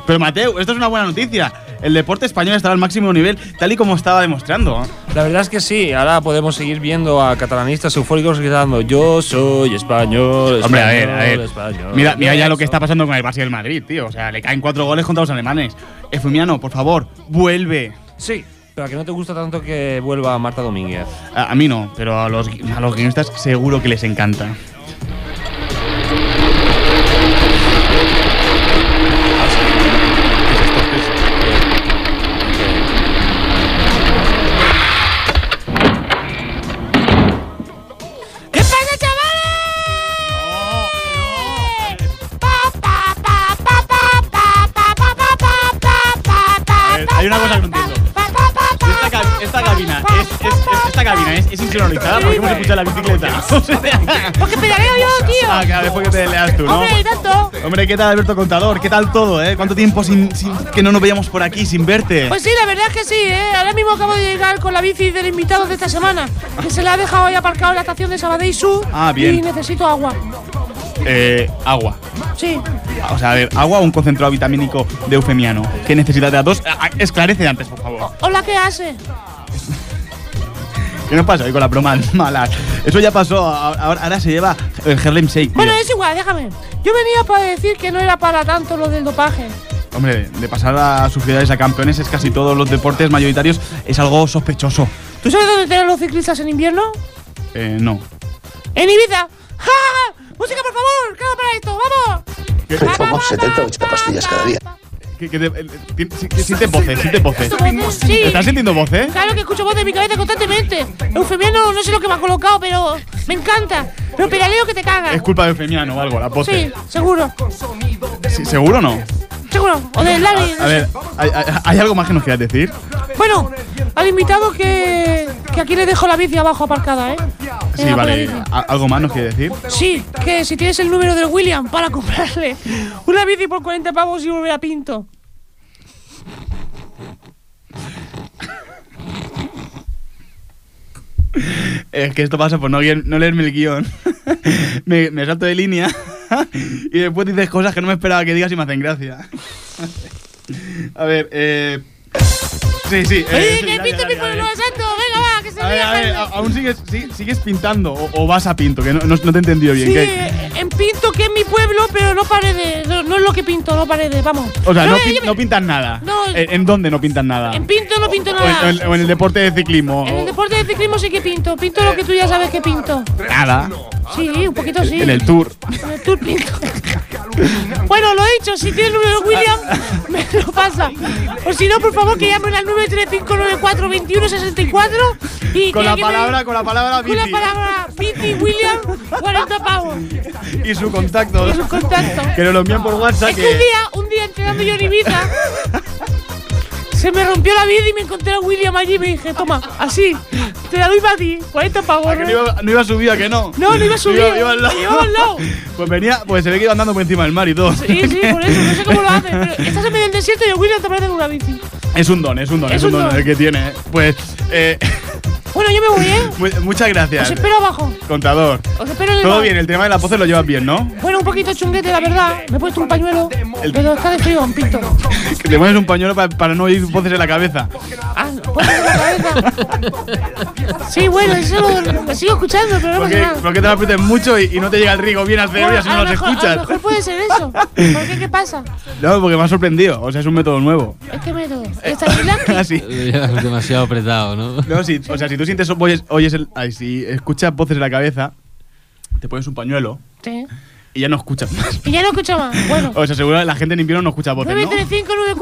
[SPEAKER 1] Pero Mateo, esto es una buena noticia. El deporte español estará al máximo nivel, tal y como estaba demostrando.
[SPEAKER 4] La verdad es que sí, ahora podemos seguir viendo a catalanistas eufóricos gritando Yo soy español,
[SPEAKER 1] Hombre, a ver,
[SPEAKER 4] español,
[SPEAKER 1] a ver.
[SPEAKER 4] español".
[SPEAKER 1] Mira, mira ya lo que está pasando con el Barça y el Madrid, tío. O sea, le caen cuatro goles contra los alemanes. Efumiano, por favor, vuelve.
[SPEAKER 4] Sí, pero que no te gusta tanto que vuelva Marta Domínguez.
[SPEAKER 1] A, a mí no, pero a los, gui- a los guionistas seguro que les encanta.
[SPEAKER 14] ¿Qué pasa, chavales? Pa, pa, pa, pa, pa, pa, pa, pa, pa, pa, pa, pa, pa, pa,
[SPEAKER 1] Hay una cosa que no entiendo. Esta, ca- esta cabina es, es- es- esta cabina es, es insonorizada porque hemos escuchado la bicicleta. O sea,
[SPEAKER 14] Porque pedaleo yo, tío.
[SPEAKER 1] Ah, claro, después que te leas tú, ¿no?
[SPEAKER 14] Hombre, y tanto.
[SPEAKER 1] Hombre, ¿qué tal Alberto Contador? ¿Qué tal todo, eh? ¿Cuánto tiempo sin, sin- que no nos veíamos por aquí, sin verte?
[SPEAKER 14] Pues sí, la verdad es que sí, ¿eh? Ahora mismo acabo de llegar con la bici del invitado de esta semana, que se la ha dejado ahí aparcado en la estación de Sabadell Sur
[SPEAKER 1] Ah, bien.
[SPEAKER 14] y necesito agua.
[SPEAKER 1] Eh, agua.
[SPEAKER 14] Sí.
[SPEAKER 1] O sea, a ver, agua o un concentrado vitamínico de eufemiano. ¿Qué necesitas de las dos? Ah, ah, Esclarece antes, por favor.
[SPEAKER 14] Hola, ¿qué hace?
[SPEAKER 1] ¿Qué nos pasa hoy con las bromas malas? Eso ya pasó, ahora, ahora se lleva el Harlem Shake. tío.
[SPEAKER 14] Bueno, es igual, déjame. Yo venía para decir que no era para tanto lo del dopaje.
[SPEAKER 1] Hombre, de pasar a sociedades a campeones es casi todos los deportes mayoritarios, es algo sospechoso.
[SPEAKER 14] ¿Tú sabes dónde tienen los ciclistas en invierno?
[SPEAKER 1] Eh, no.
[SPEAKER 14] ¡En Ibiza! ¡Ja, ja, ja! música por favor! ¡Claro para esto! ¡Vamos!
[SPEAKER 15] Tomamos 70 o 80 pastillas cada día.
[SPEAKER 1] ¿Qué, qué te- eh, ti- si- que sientes voces, sientes voces.
[SPEAKER 14] voces? Sí.
[SPEAKER 1] ¿Estás sintiendo voces?
[SPEAKER 14] Claro que escucho voz de mi cabeza constantemente. Eufemiano, no sé lo que me ha colocado, pero me encanta. Pero pedaleo que te cagas.
[SPEAKER 1] Es culpa de Eufemiano o algo, la voces.
[SPEAKER 14] Sí, seguro.
[SPEAKER 1] Sí, ¿Seguro o no?
[SPEAKER 14] Seguro. O de Larry.
[SPEAKER 1] A ver, ¿hay, hay, hay algo más que nos quieras decir?
[SPEAKER 14] Bueno, al invitado que, que aquí le dejo la bici abajo aparcada, ¿eh?
[SPEAKER 1] Sí,
[SPEAKER 14] Venga,
[SPEAKER 1] vale.
[SPEAKER 14] por la bici.
[SPEAKER 1] ¿a- ¿Algo más nos quieres decir?
[SPEAKER 14] Sí, que si tienes el número del William para comprarle una bici por 40 pavos y volver a Pinto.
[SPEAKER 1] Es que esto pasa por no, guion- no leerme el guión. me, me salto de línea y después dices cosas que no me esperaba que digas y me hacen gracia. a ver, eh. Sí, sí. eh,
[SPEAKER 14] ¡Oye,
[SPEAKER 1] sí,
[SPEAKER 14] que
[SPEAKER 1] dale,
[SPEAKER 14] Pinto
[SPEAKER 1] dale,
[SPEAKER 14] Pico
[SPEAKER 1] dale.
[SPEAKER 14] de Nueva Santo! ¡Venga, va, que se
[SPEAKER 1] A ver, a ver,
[SPEAKER 14] vea!
[SPEAKER 1] a- aún sigues, sí- sigues pintando o, o vas a pinto, que no, no- no te he entendido bien.
[SPEAKER 14] Sí,
[SPEAKER 1] ¿qué?
[SPEAKER 14] eh, en Pinto, que es mi pueblo, pero no paredes. No, no es lo que pinto, no paredes, vamos.
[SPEAKER 1] O sea, no,
[SPEAKER 14] eh,
[SPEAKER 1] pin-
[SPEAKER 14] yo-
[SPEAKER 1] no pintas nada.
[SPEAKER 14] No.
[SPEAKER 1] ¿En, en dónde no pintas nada?
[SPEAKER 14] En Pinto no pinto
[SPEAKER 1] O en,
[SPEAKER 14] nada.
[SPEAKER 1] o en- o en el deporte de ciclismo.
[SPEAKER 14] En el
[SPEAKER 1] o-
[SPEAKER 14] deporte de ciclismo sí que pinto. Pinto lo que tú ya sabes que pinto.
[SPEAKER 1] nada.
[SPEAKER 14] Sí, un poquito sí.
[SPEAKER 1] En el tour.
[SPEAKER 14] En el tour pinto. Bueno, lo he dicho, si tiene el número de William, me lo pasa. O si no, por favor, que llamen al 935942164 y
[SPEAKER 1] Con
[SPEAKER 14] que
[SPEAKER 1] la
[SPEAKER 14] alguien me-
[SPEAKER 1] palabra, con la palabra
[SPEAKER 14] Con la
[SPEAKER 1] Viti.
[SPEAKER 14] palabra Piti William, 40 pavos.
[SPEAKER 1] Y su contacto.
[SPEAKER 14] Y su contacto.
[SPEAKER 1] Que nos lo envían por WhatsApp.
[SPEAKER 14] Es que un día, un día entregando yo en Ibiza, se me rompió la vida y me encontré a William allí y me dije, toma, así, te la doy para ti, 40 pavos.
[SPEAKER 1] que no iba, no iba a subir, ¿a que no?
[SPEAKER 14] No, no iba a subir,
[SPEAKER 1] iba al lado.
[SPEAKER 14] lo llevaba al lado.
[SPEAKER 1] Pues venía, pues se ve que iba andando por encima del mar y todo.
[SPEAKER 14] Sí, sí, por eso, no sé cómo lo hace. Pero estás en medio del desierto y el William te aparece con una bici.
[SPEAKER 1] Es un don, es un don, es, un don, el que tiene. Pues, eh,
[SPEAKER 14] Bueno, yo me voy, ¿eh?
[SPEAKER 1] mu- muchas
[SPEAKER 14] Os
[SPEAKER 1] gracias.
[SPEAKER 14] espero abajo.
[SPEAKER 1] Contador.
[SPEAKER 14] Os espero en el
[SPEAKER 1] Todo
[SPEAKER 14] bar.
[SPEAKER 1] bien, el tema Pues de la pose lo llevas bien, ¿no?
[SPEAKER 14] Bueno, un poquito chunguete, la verdad. Me he puesto un pañuelo, pero está de frío, un pito.
[SPEAKER 1] Que te pones un pañuelo pa- para no oír voces en la cabeza.
[SPEAKER 14] Ah, ponte la cabeza. Sí, bueno, eso lo, lo sigo escuchando, pero no pasa
[SPEAKER 1] Porque,
[SPEAKER 14] Pues nada.
[SPEAKER 1] porque te la aprietes mucho y, y no te llega el riego bien al cerebro y así
[SPEAKER 14] Bueno, a lo
[SPEAKER 1] no los
[SPEAKER 14] mejor- A lo
[SPEAKER 1] escuchas.
[SPEAKER 14] mejor puede ser eso. ¿Por qué? ¿Qué pasa?
[SPEAKER 1] No, porque me ha sorprendido. O sea, es un método nuevo.
[SPEAKER 14] Es que me
[SPEAKER 1] Eh.
[SPEAKER 14] ¿Está en Finlandia?
[SPEAKER 1] Así.
[SPEAKER 6] Demasiado apretado, ¿no?
[SPEAKER 1] No, sí, o sea, si tú sientes, oyes, oyes el, ay, si escuchas voces en la cabeza, te pones un pañuelo
[SPEAKER 14] Sí.
[SPEAKER 1] y ya no escuchas más.
[SPEAKER 14] Y ya no escucho más. Bueno.
[SPEAKER 1] O sea, seguro la gente en invierno no escucha voces, ¿no?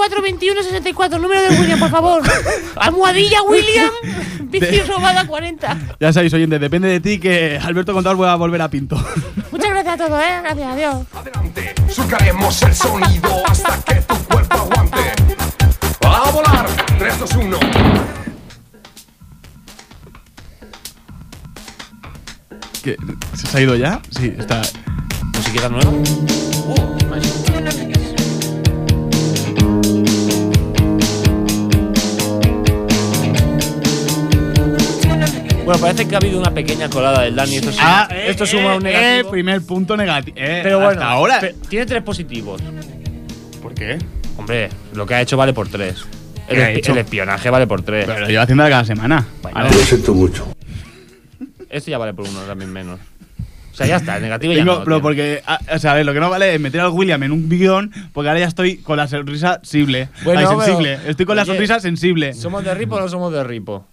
[SPEAKER 14] 935-94-21-64, número de William, por favor. Almohadilla William, bici
[SPEAKER 1] De-
[SPEAKER 14] robada 40.
[SPEAKER 1] Ya sabéis, oyentes, depende de ti que Alberto Contador pueda volver a Pinto.
[SPEAKER 14] Muchas gracias a todos, ¿eh? Gracias, adiós.
[SPEAKER 17] Sacaremos el sonido hasta que tu cuerpo aguante. ¡A volar! 3, 2, 1.
[SPEAKER 1] ¿Qué? ¿Se ha ido ya? Sí, está.
[SPEAKER 4] ¿Musiquita nueva? Bueno, parece que ha habido una pequeña colada del Dani. Esto
[SPEAKER 1] Ah,
[SPEAKER 4] suma, esto suma un negativo.
[SPEAKER 1] eh, primer punto negativo.
[SPEAKER 4] pero bueno,
[SPEAKER 1] eh, hasta ahora.
[SPEAKER 4] pe- tiene tres positivos.
[SPEAKER 1] ¿Por qué?
[SPEAKER 4] Hombre, lo que ha hecho vale por tres. El,
[SPEAKER 1] ¿Qué ha
[SPEAKER 4] espi-
[SPEAKER 1] hecho?
[SPEAKER 4] el espionaje vale por tres.
[SPEAKER 1] Pero lo lleva haciendo cada semana. A ver.
[SPEAKER 15] siento mucho.
[SPEAKER 4] Esto Este ya vale por uno, también menos. O sea, ya está, el negativo ya
[SPEAKER 1] Tengo-
[SPEAKER 4] no.
[SPEAKER 1] pero porque, ah, o sea, a ver, lo que no vale es meter al William en un guión, porque ahora ya estoy con la sonrisa sensible.
[SPEAKER 4] Bueno,
[SPEAKER 1] Ay,
[SPEAKER 4] pero-
[SPEAKER 1] sensible. Estoy con la
[SPEAKER 4] Oye,
[SPEAKER 1] sonrisa sensible.
[SPEAKER 4] ¿Somos de ripo o no somos de ripo?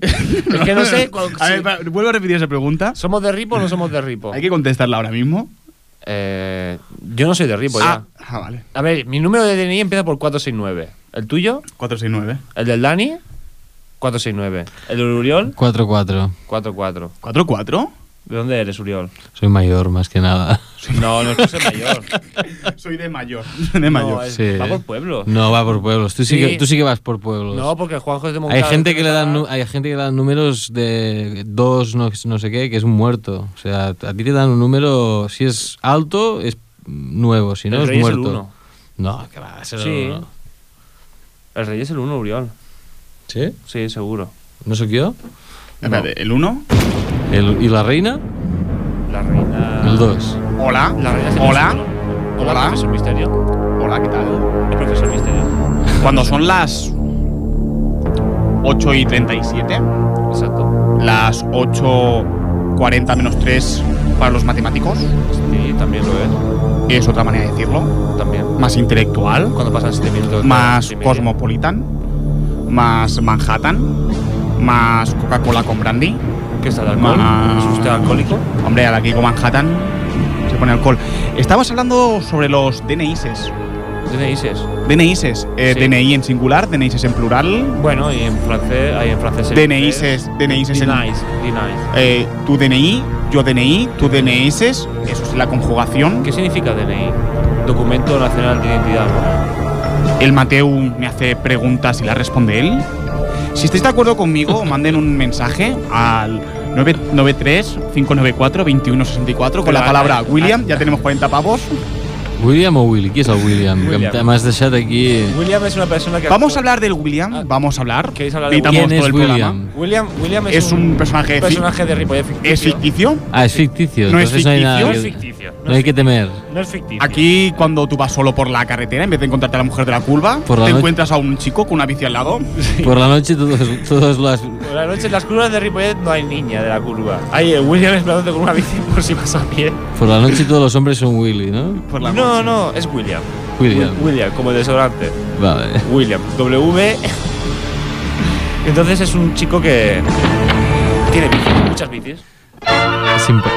[SPEAKER 4] es que no sé. cuál-
[SPEAKER 1] A ver,
[SPEAKER 4] si-
[SPEAKER 1] pa- vuelvo a repetir esa pregunta.
[SPEAKER 4] ¿Somos de ripo o no somos de ripo?
[SPEAKER 1] Hay que contestarla ahora mismo.
[SPEAKER 4] Eh, yo no soy de ripo
[SPEAKER 1] ah,
[SPEAKER 4] ya.
[SPEAKER 1] ah, vale.
[SPEAKER 4] A ver, mi número de DNI empieza por 469. ¿El tuyo?
[SPEAKER 1] 469.
[SPEAKER 4] ¿El del Dani? 469. ¿El del Uriol?
[SPEAKER 6] 4-4.
[SPEAKER 4] 44.
[SPEAKER 1] ¿4-4?
[SPEAKER 4] ¿De dónde eres, Uriol?
[SPEAKER 6] Soy mayor, más que nada.
[SPEAKER 4] No, no es que soy mayor.
[SPEAKER 1] Soy de mayor. De mayor.
[SPEAKER 4] No, es-
[SPEAKER 6] Sí.
[SPEAKER 4] Va por pueblo.
[SPEAKER 6] No, va por pueblos. Tú sí,
[SPEAKER 4] Sí.
[SPEAKER 6] que, tú sí que vas por pueblos.
[SPEAKER 4] No, porque Juanjo es de
[SPEAKER 6] Hay
[SPEAKER 4] Moncada,
[SPEAKER 6] gente que le dan
[SPEAKER 4] Moncada.
[SPEAKER 6] nu- hay gente que le dan números de dos no, no sé qué que es un muerto. O sea, a ti te dan un número si es alto es nuevo, si no
[SPEAKER 4] El
[SPEAKER 6] es
[SPEAKER 4] rey es el
[SPEAKER 6] muerto.
[SPEAKER 4] uno.
[SPEAKER 6] No, que va, ese no,
[SPEAKER 4] Sí.
[SPEAKER 6] no.
[SPEAKER 4] El rey es el 1, Uriol.
[SPEAKER 6] ¿Sí?
[SPEAKER 4] Sí, seguro.
[SPEAKER 6] ¿No soy yo?
[SPEAKER 1] Espérate, ¿el 1?
[SPEAKER 6] ¿Y la reina?
[SPEAKER 4] La reina.
[SPEAKER 6] El 2.
[SPEAKER 1] Hola.
[SPEAKER 4] La reina es el
[SPEAKER 1] Hola.
[SPEAKER 4] misterio. Hola.
[SPEAKER 1] Hola.
[SPEAKER 4] Profesor Misterio.
[SPEAKER 1] Hola, ¿qué tal?
[SPEAKER 4] El profesor Misterio.
[SPEAKER 1] Cuando son las 8 y 37,
[SPEAKER 4] Exacto.
[SPEAKER 1] las 8.40 menos 3 para los matemáticos,
[SPEAKER 4] Sí, también lo es.
[SPEAKER 1] es otra manera de decirlo,
[SPEAKER 4] También.
[SPEAKER 1] más intelectual,
[SPEAKER 4] Cuando pasan 7 minutos. de
[SPEAKER 1] más
[SPEAKER 4] las y media.
[SPEAKER 1] cosmopolitan, más Manhattan, más Coca-Cola con brandy.
[SPEAKER 4] ¿Qué es el alcohol?
[SPEAKER 1] Ma-
[SPEAKER 4] ¿Es usted alcohólico?
[SPEAKER 1] Hombre, ahora aquí con Manhattan se pone alcohol. Estabas hablando sobre los DNIs.
[SPEAKER 4] ¿Qué dices?
[SPEAKER 1] DNIs, eh,
[SPEAKER 4] Sí.
[SPEAKER 1] DNI en singular, DNIs en plural.
[SPEAKER 4] Bueno, y en francés. Ahí en francés.
[SPEAKER 1] DNIs, DNIs en
[SPEAKER 4] Denies. Denies.
[SPEAKER 1] eh, tu DNI, yo DNI, tu DNIs, eso es la conjugación.
[SPEAKER 4] ¿Qué significa DNI? Documento Nacional de Identidad.
[SPEAKER 1] El Mateu me hace preguntas y las responde él. Si estáis de acuerdo conmigo, manden un mensaje al 993-594-2164 con la
[SPEAKER 4] Pero,
[SPEAKER 1] palabra
[SPEAKER 4] ah,
[SPEAKER 1] William. Ya tenemos 40 pavos.
[SPEAKER 6] William o Willy, ¿qui és el William? Que
[SPEAKER 4] William.
[SPEAKER 6] em- m'has deixat aquí.
[SPEAKER 4] ¿no? William es una persona que. Ah,
[SPEAKER 1] Vamos a hablar del William. Vamos a hablar.
[SPEAKER 4] ¿Queréis hablar de
[SPEAKER 1] Necesitamos
[SPEAKER 6] ¿Quién
[SPEAKER 1] todo
[SPEAKER 6] es
[SPEAKER 1] el
[SPEAKER 6] William?
[SPEAKER 1] programa.
[SPEAKER 4] William, William es,
[SPEAKER 1] Es un personaje. fi-
[SPEAKER 4] personaje de Ripoll.
[SPEAKER 1] Es ficticio.
[SPEAKER 6] Ah, es ficticio,
[SPEAKER 1] No es
[SPEAKER 6] entonces no hay nada
[SPEAKER 1] ficticio.
[SPEAKER 4] No
[SPEAKER 6] que-
[SPEAKER 4] es ficticio.
[SPEAKER 6] no hay que temer.
[SPEAKER 4] No es ficticio.
[SPEAKER 1] Aquí, cuando tú vas solo por la carretera, en vez de encontrarte a la mujer de la curva,
[SPEAKER 6] Por la
[SPEAKER 1] te
[SPEAKER 6] noche.
[SPEAKER 1] encuentras a un chico con una bici al lado.
[SPEAKER 6] Por la noche todos, todos las...
[SPEAKER 4] Por la noche en las curvas de Ripollet no hay niña de la curva. Hay eh, William esperándote con una bici por si pasa a pie.
[SPEAKER 6] Por la noche todos los hombres son Willy, ¿no?
[SPEAKER 1] Por la
[SPEAKER 4] No,
[SPEAKER 1] noche.
[SPEAKER 4] no, es William.
[SPEAKER 6] William.
[SPEAKER 4] Wi- William, como el desodorante.
[SPEAKER 6] Vale.
[SPEAKER 4] William, W. Entonces es un chico que tiene bicis, muchas bicis.
[SPEAKER 6] Simple.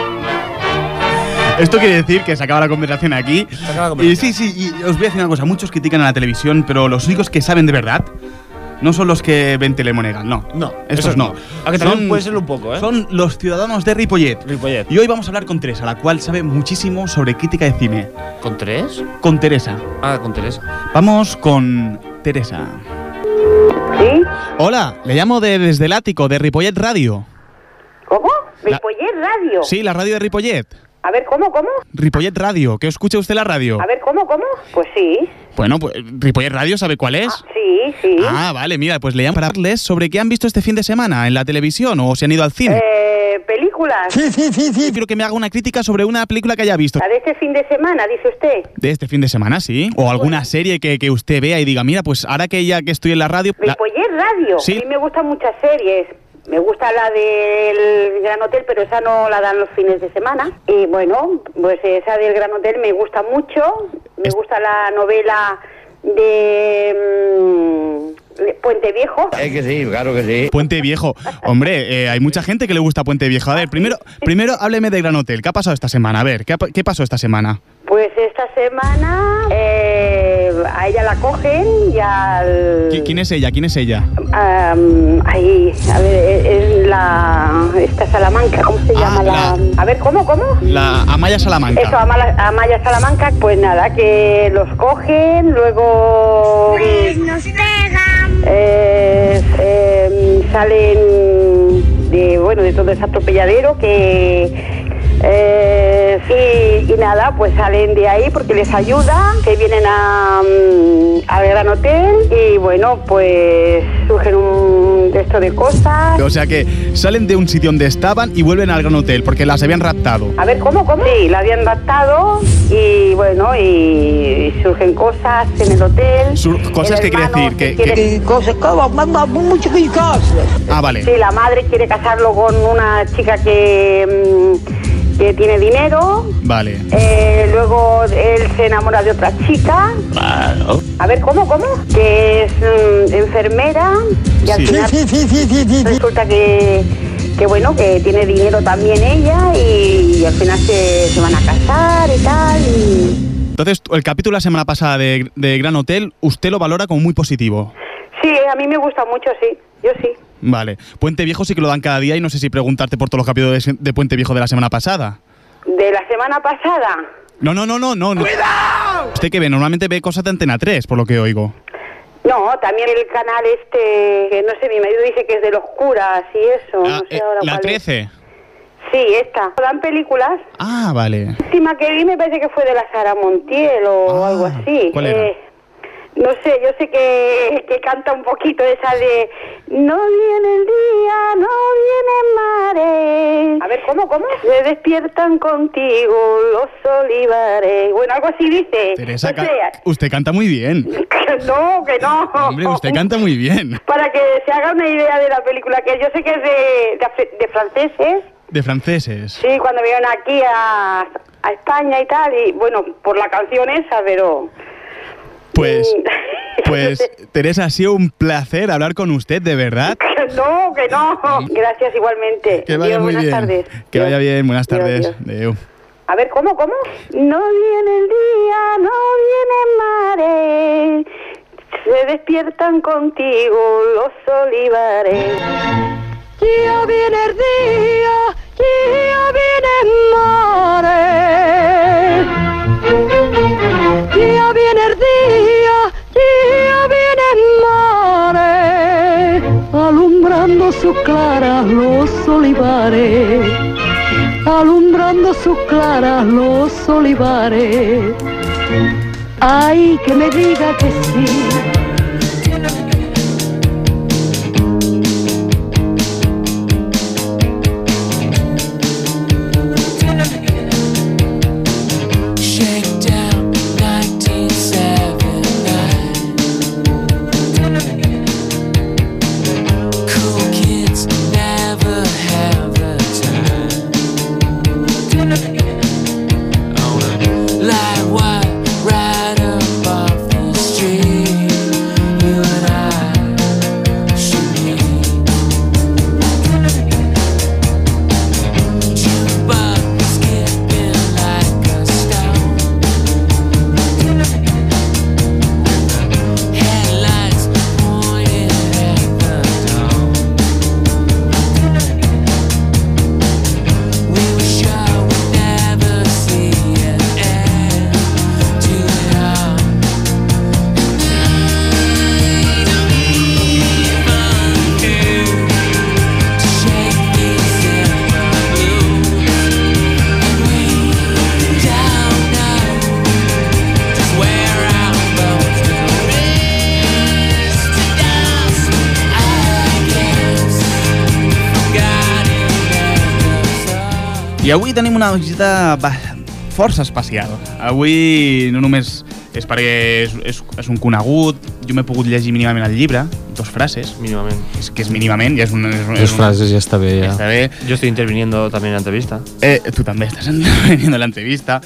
[SPEAKER 1] Esto quiere decir que se acaba la conversación aquí.
[SPEAKER 4] acaba la
[SPEAKER 1] Y
[SPEAKER 4] conversación.
[SPEAKER 1] sí, sí, y os voy a decir una cosa. Muchos critican a la televisión, pero los únicos que saben de verdad no son los que ven Telemonegal, no.
[SPEAKER 4] No,
[SPEAKER 1] estos
[SPEAKER 4] esos
[SPEAKER 1] no.
[SPEAKER 4] Aunque también
[SPEAKER 1] Son-
[SPEAKER 4] puede serlo un poco, ¿eh?
[SPEAKER 1] Son los ciudadanos de Ripollet. Y hoy vamos a hablar con Teresa, la cual sabe muchísimo sobre crítica de cine.
[SPEAKER 4] ¿Con tres?
[SPEAKER 1] Con Teresa.
[SPEAKER 4] Ah, con Teresa.
[SPEAKER 1] Vamos con Teresa.
[SPEAKER 18] ¿Sí?
[SPEAKER 1] Hola, le llamo de- desde el ático de Ripollet Radio.
[SPEAKER 18] ¿Cómo? ¿Ripollet Radio?
[SPEAKER 1] Sí, la radio de Ripollet.
[SPEAKER 18] A ver, ¿cómo, cómo?
[SPEAKER 1] Ripollet Radio, que escucha usted la radio.
[SPEAKER 18] A ver, ¿cómo, cómo? Pues sí,
[SPEAKER 1] Bueno, pues Ripollet Radio sabe cuál es.
[SPEAKER 18] sí, sí.
[SPEAKER 1] Ah, vale, mira, pues le llamo para hablarles sobre qué han visto este fin de semana en la televisión o si han ido al cine.
[SPEAKER 18] Eh, películas.
[SPEAKER 1] Sí, sí, sí, sí. Quiero que me haga una crítica sobre una película que haya visto.
[SPEAKER 18] La de este fin de semana, dice usted.
[SPEAKER 1] De este fin de semana, sí. O alguna serie que, que usted vea y diga, mira, pues ahora que ya que estoy en la radio... la-
[SPEAKER 18] Ripollet Radio.
[SPEAKER 1] Sí.
[SPEAKER 18] A mí me gustan muchas series. Me gusta la del Gran Hotel, pero esa no la dan los fines de semana. Y bueno, pues esa del Gran Hotel me gusta mucho. Me gusta la novela de mm, de Puente Viejo.
[SPEAKER 1] Es que sí, claro que sí. Puente Viejo. Hombre, eh, hay mucha gente que le gusta Puente Viejo. A ver, primero, primero hábleme de Gran Hotel. ¿Qué ha pasado esta semana? A ver, ¿qué, ha pa- qué pasó esta semana?
[SPEAKER 18] Pues esta semana eh, a ella la cogen y al...
[SPEAKER 1] ¿Qui- ¿Quién es ella? ¿Quién es ella?
[SPEAKER 18] am, ahí, a ver, e-, es- es la... Esta Salamanca, ¿cómo se llama? La, a ver, ¿cómo, cómo?
[SPEAKER 1] Ah, La Amaya Salamanca.
[SPEAKER 18] Eso, Amala- Amaya Salamanca, pues nada, que los cogen, luego... Pues nos pegan. em, salen de, bueno, de todo ese atropelladero que... eh, y, y nada, pues salen de ahí porque les ayuda, que vienen a, mm, al Gran Hotel y bueno, pues surgen un de esto de cosas.
[SPEAKER 1] O sea que salen de un sitio donde estaban y vuelven al Gran Hotel porque las habían raptado.
[SPEAKER 18] A ver, ¿cómo, cómo? Sí, la habían adaptado y bueno, y, surgen cosas en el hotel.
[SPEAKER 1] Sur- cosas
[SPEAKER 18] El
[SPEAKER 1] que quiere
[SPEAKER 18] hermano
[SPEAKER 1] decir que...
[SPEAKER 18] quiere-
[SPEAKER 1] que- Ah, vale.
[SPEAKER 18] Sí, la madre quiere casarlo con una chica que, mm, que tiene dinero.
[SPEAKER 1] Vale.
[SPEAKER 18] Eh, luego él se enamora de otra chica. A ver, ¿cómo, cómo? Que es mm, enfermera y al
[SPEAKER 1] Sí.
[SPEAKER 18] final resulta que, que, bueno, que tiene dinero también ella y, al final se, se van a casar y tal. y-
[SPEAKER 1] Entonces, el capítulo la semana pasada de, de Gran Hotel, usted lo valora como muy positivo.
[SPEAKER 18] Sí, a mí me gusta mucho, sí, yo sí.
[SPEAKER 1] Vale. Puente Viejo sí que lo dan cada día y no sé si preguntarte por todos los capítulos de, de Puente Viejo de la semana pasada.
[SPEAKER 18] De la semana pasada,
[SPEAKER 1] No, no, no, no, no. ¡Cuidado! ¿Usted qué ve? Normalmente ve cosas de Antena 3, por lo que oigo.
[SPEAKER 18] no, también el canal este, que no sé, mi marido dice que es de los curas y eso, no sé ahora
[SPEAKER 1] La
[SPEAKER 18] cuál es.
[SPEAKER 1] 13.
[SPEAKER 18] Sí, esta. Dan películas.
[SPEAKER 1] Ah, vale.
[SPEAKER 18] La última que vi me parece que fue de la Sara Montiel o algo así.
[SPEAKER 1] Ah, ¿cuál era?
[SPEAKER 18] Eh, no sé, yo sé que, que canta un poquito esa de No viene el día, no viene mares. A ver, ¿cómo, cómo? Se despiertan contigo los olivares. Bueno, algo así dice.
[SPEAKER 1] Teresa,
[SPEAKER 18] no,
[SPEAKER 1] ca-
[SPEAKER 18] sé,
[SPEAKER 1] usted canta muy bien.
[SPEAKER 18] que no, que no.
[SPEAKER 1] Hombre, usted canta muy bien.
[SPEAKER 18] Para que se haga una idea de la película, que yo sé que es de, de afri- de ¿eh? franceses.
[SPEAKER 1] De franceses.
[SPEAKER 18] Sí, cuando vinieron aquí a, a España y tal, y bueno, por la canción esa, pero...
[SPEAKER 1] Pues, pues, Teresa, ha sido un placer hablar con usted, de verdad.
[SPEAKER 18] no, que no. Gracias igualmente.
[SPEAKER 1] Que vaya
[SPEAKER 18] Adiós,
[SPEAKER 1] muy
[SPEAKER 18] buenas
[SPEAKER 1] bien.
[SPEAKER 18] tardes.
[SPEAKER 1] Que vaya bien, buenas
[SPEAKER 18] Adiós,
[SPEAKER 1] tardes.
[SPEAKER 18] adiós.
[SPEAKER 1] Adeu.
[SPEAKER 18] A ver, ¿cómo, cómo? No viene el día, no viene mares, se despiertan contigo los olivares. Ya viene el día, ya viene mares. Ya viene el día, ya viene mares, alumbrando su cara los olivares alumbrando sus claras los olivares. Ay, que me diga que sí.
[SPEAKER 19] Shakedown 1979. Cool kids never have the time. On a light wire right above the street.
[SPEAKER 1] I avui tenim una visita ba- força especial. Avui no només és perquè és, és, és un conegut, jo m'he pogut llegir mínimament el llibre, dos frases.
[SPEAKER 4] Mínimament.
[SPEAKER 1] És que és mínimament, ja és un... És, un- és
[SPEAKER 6] Dos
[SPEAKER 1] un-
[SPEAKER 6] frases ya está bien. Ya.
[SPEAKER 1] Está bien.
[SPEAKER 4] Yo estoy interviniendo también en la entrevista.
[SPEAKER 1] Eh, tu també estàs venint a l'entrevista.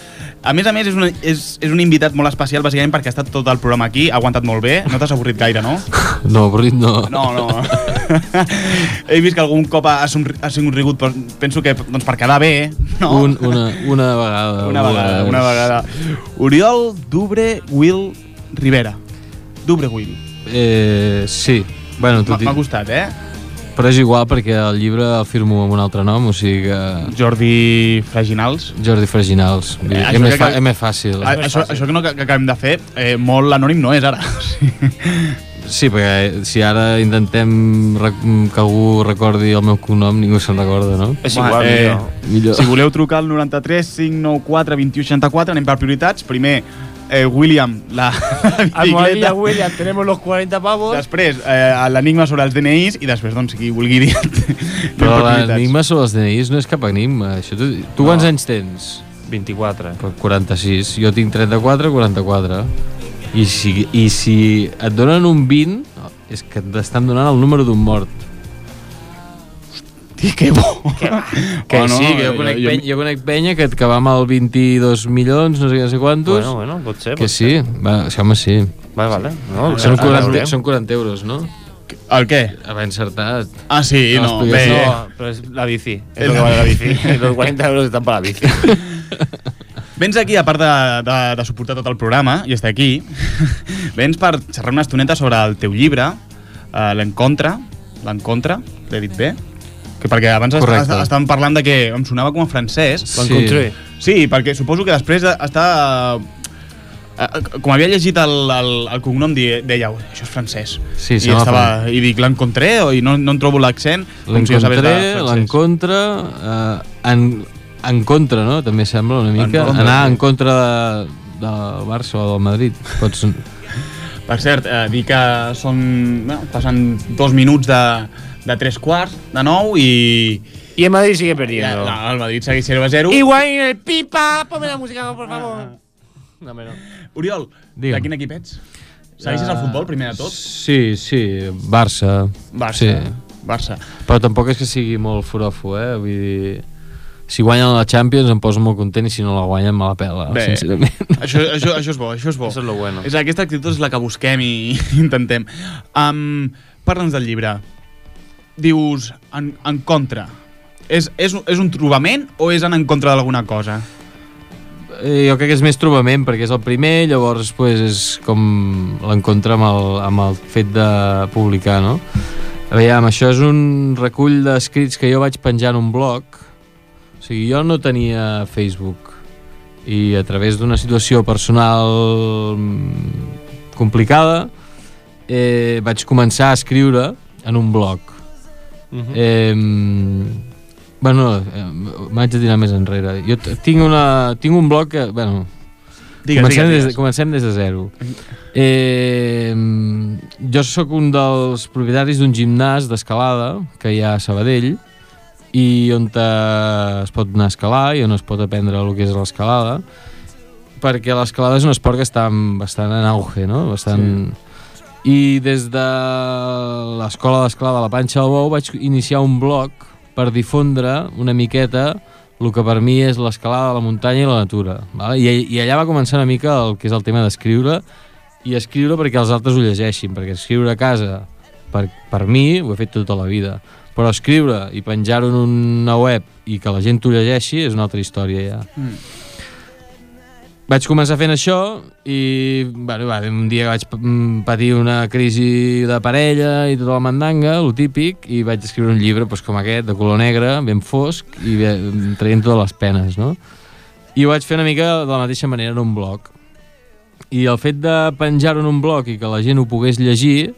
[SPEAKER 1] A més a més, és, una, és, és un invitat molt especial, bàsicament perquè ha estat tot el programa aquí, ha aguantat molt bé, no t'has avorrit gaire, no?
[SPEAKER 6] No, avorrit no.
[SPEAKER 1] No, no. He vist que algun cop ha, somri- ha somrigut, però penso que doncs, per quedar bé, no?
[SPEAKER 6] Un- una, una vegada.
[SPEAKER 1] Una vegada, una vegada. Oriol Dubre Will Rivera. Dubre Will.
[SPEAKER 6] Eh, sí. Bueno,
[SPEAKER 1] M'ha
[SPEAKER 6] tot i...
[SPEAKER 1] m'ha gustat, eh?
[SPEAKER 6] Però és igual perquè el llibre el firmo amb un altre nom, o sigui que...
[SPEAKER 1] Jordi Freginals?
[SPEAKER 6] Jordi Freginals. Eh,
[SPEAKER 1] això
[SPEAKER 6] és, més
[SPEAKER 1] que
[SPEAKER 6] fa...
[SPEAKER 1] cal-
[SPEAKER 6] és més fàcil.
[SPEAKER 1] A, això, això que, no, que, que acabem de fer, eh, molt anònim no és ara.
[SPEAKER 6] Sí, perquè eh, si ara intentem rec- que algú recordi el meu cognom, ningú se'n recorda, no? eh, millor.
[SPEAKER 1] Eh, Si voleu trucar al 93 594 2164, anem per prioritats. Primer, eh, William, la, la
[SPEAKER 4] Almohadilla
[SPEAKER 1] bicicleta.
[SPEAKER 4] William, tenemos los 40 pavos.
[SPEAKER 1] Després, eh, l'enigma sobre els DNIs i després, doncs, qui vulgui dir.
[SPEAKER 6] Però
[SPEAKER 1] anem per prioritats.
[SPEAKER 6] l'enigma sobre els DNIs no és cap enigma. Això tu tu
[SPEAKER 1] No.
[SPEAKER 6] quants anys tens?
[SPEAKER 4] 24.
[SPEAKER 6] 46. Jo tinc 34, 44. I si, I si et donen un 20, és que t'estan donant el número d'un mort.
[SPEAKER 1] Hosti, que bo!
[SPEAKER 6] Que, que
[SPEAKER 4] Oh, no,
[SPEAKER 6] sí, que jo,
[SPEAKER 4] jo-
[SPEAKER 6] conec
[SPEAKER 4] jo-
[SPEAKER 6] penya, jo conec penya que, que va amb el 22 milions, no sé, què, no sé quantos.
[SPEAKER 4] Bueno, bueno, pot ser.
[SPEAKER 6] que sí, va, sí, home, sí.
[SPEAKER 4] Vale, vale. No,
[SPEAKER 6] són,
[SPEAKER 4] ara- ara veurem.
[SPEAKER 6] 40, són 40 euros, no?
[SPEAKER 1] El què?
[SPEAKER 6] Haver encertat.
[SPEAKER 1] Ah, sí, no,
[SPEAKER 6] expliques-
[SPEAKER 1] bé.
[SPEAKER 4] No, pero es la bici. Es
[SPEAKER 1] Es
[SPEAKER 4] lo que
[SPEAKER 1] la
[SPEAKER 4] vale la
[SPEAKER 1] bici.
[SPEAKER 4] bici. Los 40 euros están para la bici.
[SPEAKER 1] Vens aquí, a part de, de, de suportar tot el programa i estar aquí, vens per xerrar una estoneta sobre el teu llibre, eh, l'Encontre, l'Encontre, l'he dit bé? Que perquè abans est-
[SPEAKER 6] Correcte.
[SPEAKER 1] est- estàvem parlant de que em sonava com a francès.
[SPEAKER 6] Sí. L'Encontre.
[SPEAKER 1] Sí, perquè suposo que després de- està... eh, eh, Com havia llegit el, el, el cognom, di- deia, "Ui, això és francès.
[SPEAKER 6] Sí,
[SPEAKER 1] I,
[SPEAKER 6] sembla
[SPEAKER 1] estava, i dic, l'encontré, o- i no, no en trobo l'accent. com si jo sabés de
[SPEAKER 6] L'encontré,
[SPEAKER 1] francès.
[SPEAKER 6] l'encontre, eh, en, en contra, no? També sembla una mica.
[SPEAKER 1] En contra,
[SPEAKER 6] Anar
[SPEAKER 1] sí.
[SPEAKER 6] en contra de, del Barça o del Madrid. Pots...
[SPEAKER 1] Per cert, eh, dir que són, no, passen dos minuts de, de tres quarts, de nou, i...
[SPEAKER 4] I el Madrid sigue perdiendo.
[SPEAKER 1] No, el Madrid segueix 0 a 0.
[SPEAKER 14] Igual en el pipa, ponme la música, por favor.
[SPEAKER 1] Oriol, de quin equip ets? Segueixes
[SPEAKER 4] Ah,
[SPEAKER 1] el futbol, primer de tot?
[SPEAKER 6] Sí, sí, Barça.
[SPEAKER 1] Barça,
[SPEAKER 6] Sí.
[SPEAKER 1] Barça.
[SPEAKER 6] Però tampoc és que sigui molt forofo, eh? Vull dir... Si guanyen la Champions em poso molt content i si no la guanyen me la pela,
[SPEAKER 1] Bé.
[SPEAKER 6] sincerament.
[SPEAKER 1] Això, això, això és bo, això és bo. Això és lo bueno. És, aquesta actitud és la que busquem i intentem. Um, Parla'ns del llibre. Dius, en, en contra. És, és, un- és un trobament o és en, en contra d'alguna cosa?
[SPEAKER 6] Eh, jo crec que és més trobament, perquè és el primer, llavors pues, és com l'encontre amb, el, amb el fet de publicar, no? Aviam, això és un recull d'escrits que jo vaig penjar en un blog. O sigui, jo no tenia Facebook i a través d'una situació personal mm, complicada eh, vaig començar a escriure en un blog. Uh -huh. eh, bueno, eh, m'haig de tirar més enrere. Jo t- tinc, una, tinc un blog que... Bueno,
[SPEAKER 1] Digues,
[SPEAKER 6] comencem,
[SPEAKER 1] digues,
[SPEAKER 6] des,
[SPEAKER 1] digues.
[SPEAKER 6] comencem des de zero. Eh, mm, jo sóc un dels propietaris d'un gimnàs d'escalada que hi ha a Sabadell i on eh, es pot anar a escalar i on es pot aprendre el que és l'escalada perquè l'escalada és un esport que està en- bastant en auge, no? Bastant... Sí. I des de l'escola d'escalada de la Panxa del Bou vaig iniciar un blog per difondre una miqueta el que per mi és l'escalada de la muntanya i la natura. Vale? I, I allà va començar una mica el que és el tema d'escriure i escriure perquè els altres ho llegeixin, perquè escriure a casa per, per mi ho he fet tota la vida. Però escriure i penjar-ho en una web i que la gent t'ho llegeixi és una altra història ja
[SPEAKER 1] Mm.
[SPEAKER 6] vaig començar fent això i bueno, va, un dia vaig mm, patir una crisi de parella i tota la mandanga, el típic, i vaig escriure un llibre doncs, com aquest, de color negre, ben fosc, i bé, traient totes les penes, no? I ho vaig fer una mica de la mateixa manera en un blog. I el fet de penjar-ho en un blog i que la gent ho pogués llegir,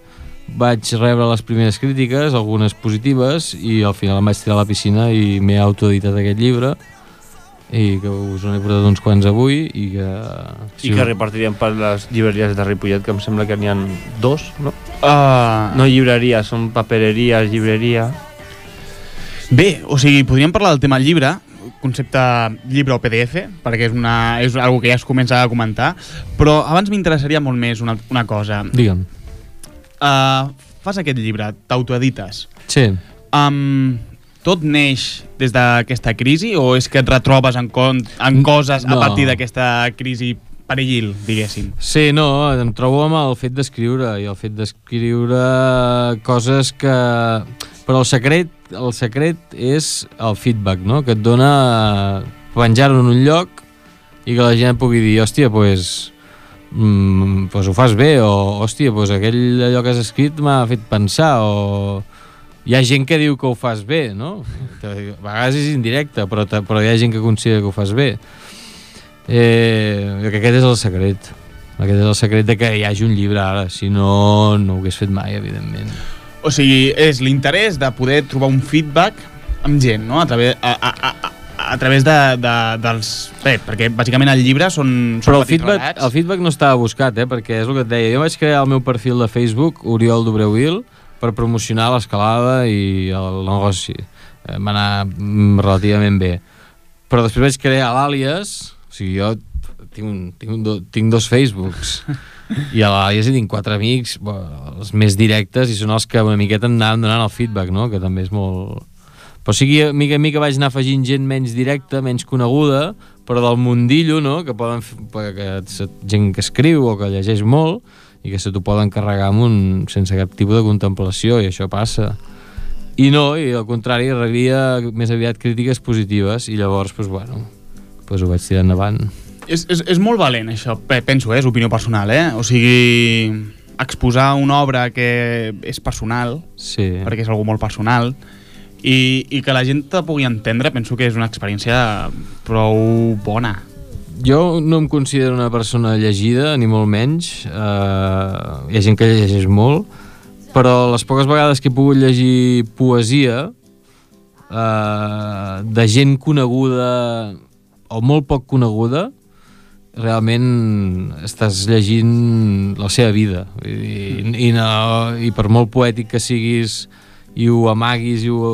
[SPEAKER 6] vaig rebre les primeres crítiques, algunes positives, i al final em vaig tirar a la piscina i m'he autoeditat aquest llibre, i que us n'he portat uns quants avui, i que...
[SPEAKER 4] I que repartirien per les llibreries de Ripollet, que em sembla que n'hi ha dos, no?
[SPEAKER 1] Ah.
[SPEAKER 4] No llibreria, són papereries, llibreria...
[SPEAKER 1] Bé, o sigui, podríem parlar del tema llibre, concepte llibre o PDF, perquè és, una, és algo que ja es comença a comentar, però abans m'interessaria molt més una, una cosa.
[SPEAKER 6] Digue'm.
[SPEAKER 1] Uh, fas aquest llibre, t'autoedites.
[SPEAKER 6] Sí.
[SPEAKER 1] Um, tot neix des d'aquesta crisi o és que et retrobes en, con en coses a
[SPEAKER 6] no.
[SPEAKER 1] partir d'aquesta crisi perillil, diguéssim?
[SPEAKER 6] Sí, no, em trobo amb el fet d'escriure i el fet d'escriure coses que... Però el secret, el secret és el feedback, no? Que et dona penjar-ho en un lloc i que la gent pugui dir, hòstia, pues, mm, pues ho fas bé, o hòstia, pues aquell allò que has escrit m'ha fet pensar, o hi ha gent que diu que ho fas bé, no? A vegades és indirecte, però, ta- però hi ha gent que considera que ho fas bé. Eh, jo crec que aquest és el secret. Aquest és el secret de que hi hagi un llibre ara, si no, no ho hagués fet mai, evidentment.
[SPEAKER 1] O sigui, és l'interès de poder trobar un feedback amb gent, no? A través, a, a, a, a, a través de, de, dels... Bé, perquè bàsicament el llibre són, són
[SPEAKER 6] Però el
[SPEAKER 1] petits
[SPEAKER 6] feedback,
[SPEAKER 1] relats.
[SPEAKER 6] el feedback no estava buscat, eh? perquè és el que et deia. Jo vaig crear el meu perfil de Facebook, Oriol Dobreuil, per promocionar l'escalada i el negoci. Eh, Va anar mm, relativament bé. Però després vaig crear l'àlies, o sigui, jo tinc, un, tinc, un, do- tinc dos Facebooks, i a l'àlies hi tinc quatre amics, bo, els més directes, i són els que una miqueta em anaven donant el feedback, no? que també és molt... Però o sigui, mica en mica vaig anar afegint gent menys directa, menys coneguda, però del mundillo, no?, que poden fer, que, que, gent que escriu o que llegeix molt i que se t'ho poden carregar amb un, sense cap tipus de contemplació, i això passa. I no, i al contrari, rebia més aviat crítiques positives i llavors, doncs, bueno, doncs ho vaig tirar endavant.
[SPEAKER 1] És, és, és molt valent, això, Pe- penso, eh? és opinió personal, eh? O sigui, exposar una obra que és personal,
[SPEAKER 6] sí.
[SPEAKER 1] perquè és algú molt personal, i, i que la gent te pugui entendre, penso que és una experiència prou bona.
[SPEAKER 6] Jo no em considero una persona llegida, ni molt menys. Uh, hi ha gent que llegeix molt, però les poques vegades que he pogut llegir poesia uh, de gent coneguda o molt poc coneguda, realment estàs llegint la seva vida. I, i, no, i per molt poètic que siguis i ho amaguis i ho,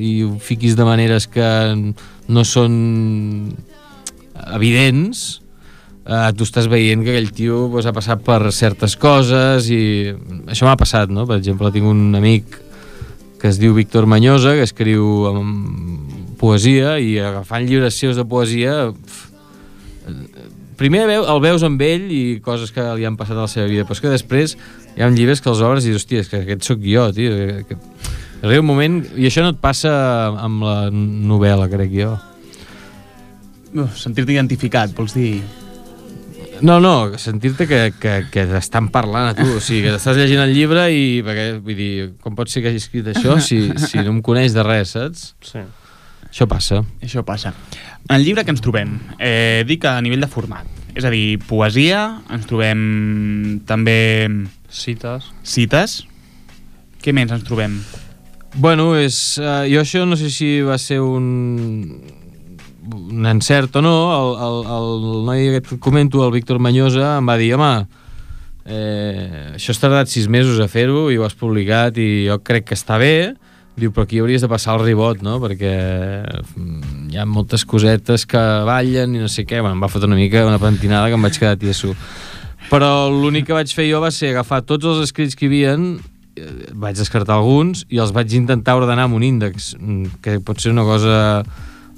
[SPEAKER 6] i ho fiquis de maneres que no són evidents, eh, tu estàs veient que aquell tio pues, ha passat per certes coses i això m'ha passat, no? Per exemple, tinc un amic que es diu Víctor Manyosa, que escriu em, poesia i agafant llibres seus de poesia pf, eh, primer veu, el veus amb ell i coses que li han passat a la seva vida, però és que després hi ha llibres que els obres i dius, hòstia, és que aquest sóc jo, tio. Que, que... Arriba un moment, i això no et passa amb la novel·la, crec jo.
[SPEAKER 1] Uf, Sentir-te identificat, vols dir?
[SPEAKER 6] No, no, sentir-te que, que, que t'estan parlant a tu, o sigui, que t'estàs llegint el llibre i, perquè, vull dir, com pot ser que hagi escrit això si, si no em coneix de res, saps?
[SPEAKER 1] Sí.
[SPEAKER 6] Això passa.
[SPEAKER 1] Això passa. En el llibre que ens trobem, eh, dic a nivell de format, és a dir, poesia, ens trobem també...
[SPEAKER 4] Cites.
[SPEAKER 1] Cites. Què més ens trobem?
[SPEAKER 6] Bueno, és, eh, jo això no sé si va ser un, un encert o no. El, el, el noi aquest que et comento, el Víctor Manyosa, em va dir, home, eh, això has tardat sis mesos a fer-ho i ho has publicat i jo crec que està bé. Diu, però aquí hauries de passar el ribot, no? Perquè mm, hi ha moltes cosetes que ballen i no sé què. Bueno, em va fotre una mica una pentinada que em vaig quedar tieso. Però l'únic que vaig fer jo va ser agafar tots els escrits que hi havia vaig descartar alguns i els vaig intentar ordenar amb un índex, mm, que pot ser una cosa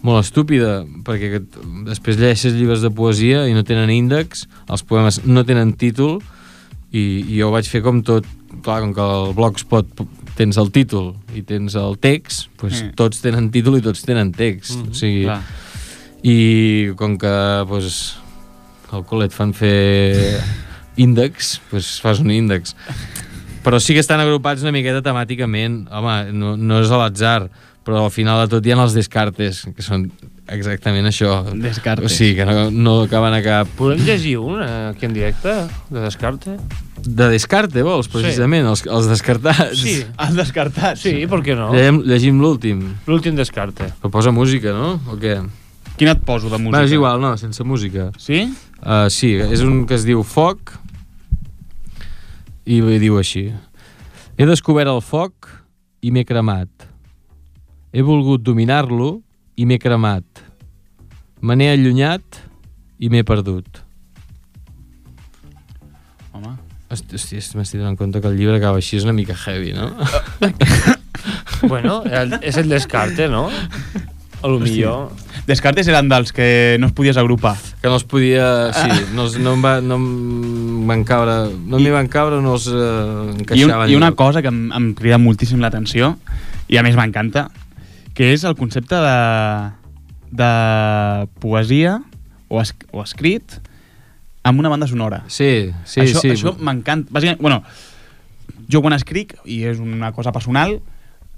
[SPEAKER 6] molt estúpida, perquè que t- després llegeixes llibres de poesia i no tenen índex, els poemes no tenen títol, i, i jo ho vaig fer com tot, clar, com que el blogspot p- tens el títol i tens el text, doncs
[SPEAKER 11] Mm.
[SPEAKER 6] tots tenen títol i tots tenen text,
[SPEAKER 4] Mm-hmm,
[SPEAKER 11] Mhm,
[SPEAKER 6] o sigui...
[SPEAKER 11] clar.
[SPEAKER 6] I com que, doncs, al col·le et fan fer índex, doncs fas un índex però sí que estan agrupats una miqueta temàticament. Home, no, no és a l'atzar, però al final de tot hi ha els descartes, que són exactament això. O
[SPEAKER 1] Descartes.
[SPEAKER 6] sigui, que no, no acaben a cap...
[SPEAKER 4] Podem llegir un eh, aquí en directe, de descarte?
[SPEAKER 6] De descarte, vols, precisament, sí. els, els descartats.
[SPEAKER 4] Sí.
[SPEAKER 1] Els descartats?
[SPEAKER 4] Sí, per què no?
[SPEAKER 6] Llegim, llegim l'últim.
[SPEAKER 4] L'últim descarte.
[SPEAKER 6] Però posa música, no? O què?
[SPEAKER 1] Quina et poso de música?
[SPEAKER 6] Bueno, és igual, no, sense música.
[SPEAKER 1] Sí?
[SPEAKER 6] Uh, sí, és un que es diu Foc i bé, diu així. He descobert el foc i m'he cremat. He volgut dominar-lo i m'he cremat. Me n'he allunyat i m'he perdut.
[SPEAKER 1] Home.
[SPEAKER 6] Hosti- Hòstia, est- m'estic donant compte que el llibre acaba així, és una mica heavy, no?
[SPEAKER 4] Bueno, el- és el descarte, no? A lo millor...
[SPEAKER 1] Descartes eren dels que no es podies agrupar.
[SPEAKER 6] Que no es podia...
[SPEAKER 1] Ah.
[SPEAKER 6] Sí, no, es- no em va, no em van caure... No m'hi van caure, no els eh,
[SPEAKER 1] I, un,
[SPEAKER 6] encaixaven.
[SPEAKER 1] I una cosa que em, em crida moltíssim l'atenció, i a més m'encanta, que és el concepte de, de poesia o, es, o escrit amb una banda sonora.
[SPEAKER 6] Sí, sí,
[SPEAKER 1] això,
[SPEAKER 6] sí.
[SPEAKER 1] Això m'encanta. Bàsicament, bueno, jo quan escric, i és una cosa personal,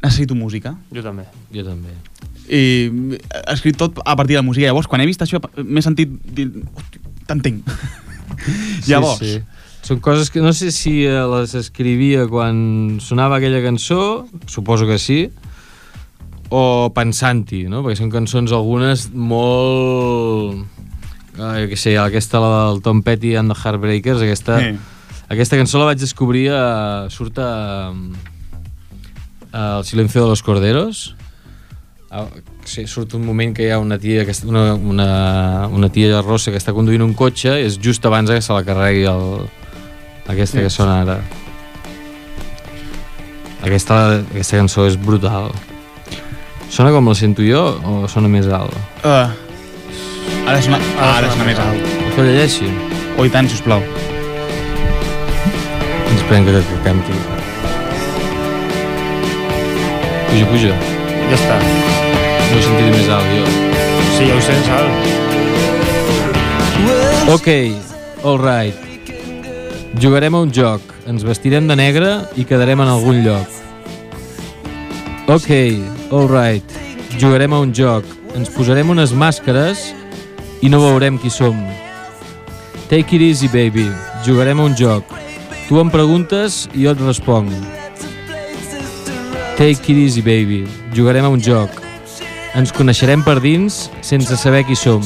[SPEAKER 1] necessito música.
[SPEAKER 4] Jo també.
[SPEAKER 6] Jo també.
[SPEAKER 1] I mm, he escrit tot a partir de la música. Llavors, quan he vist això, m'he sentit dir... "Hosti, T'entenc. Llavors.
[SPEAKER 6] Sí, sí. Són coses que no sé si eh, les escrivia quan sonava aquella cançó, suposo que sí, o pensant-hi, no? Perquè són cançons algunes molt... Ah, jo què sé, aquesta, la del Tom Petty and the Heartbreakers, aquesta,
[SPEAKER 1] Sí.
[SPEAKER 6] aquesta cançó la vaig descobrir a... surt a... a El silencio de los corderos. Ah, sí, surt un moment que hi ha una tia, que, est- una, una, una tia rossa que està conduint un cotxe i és just abans que se la carregui el, aquesta que
[SPEAKER 1] Sí.
[SPEAKER 6] sona ara. Aquesta, aquesta cançó és brutal. Sona com la sento jo o sona més alt?
[SPEAKER 1] Uh, ara sona, ara sona més alt.
[SPEAKER 6] Vols que ho llegeixi?
[SPEAKER 1] Oh, i tant, sisplau.
[SPEAKER 6] Esperem que, que canti. Puja, puja.
[SPEAKER 4] Ja està.
[SPEAKER 6] No ho sentiré més alt, jo.
[SPEAKER 4] Sí, ho sents alt.
[SPEAKER 6] Ok, all right. Jugarem a un joc, ens vestirem de negre i quedarem en algun lloc. Ok, all right. Jugarem a un joc, ens posarem unes màscares i no veurem qui som. Take it easy, baby. Jugarem a un joc. Tu em preguntes i jo et responc. Take it easy, baby. Jugarem a un joc. Ens coneixerem per dins sense saber qui som.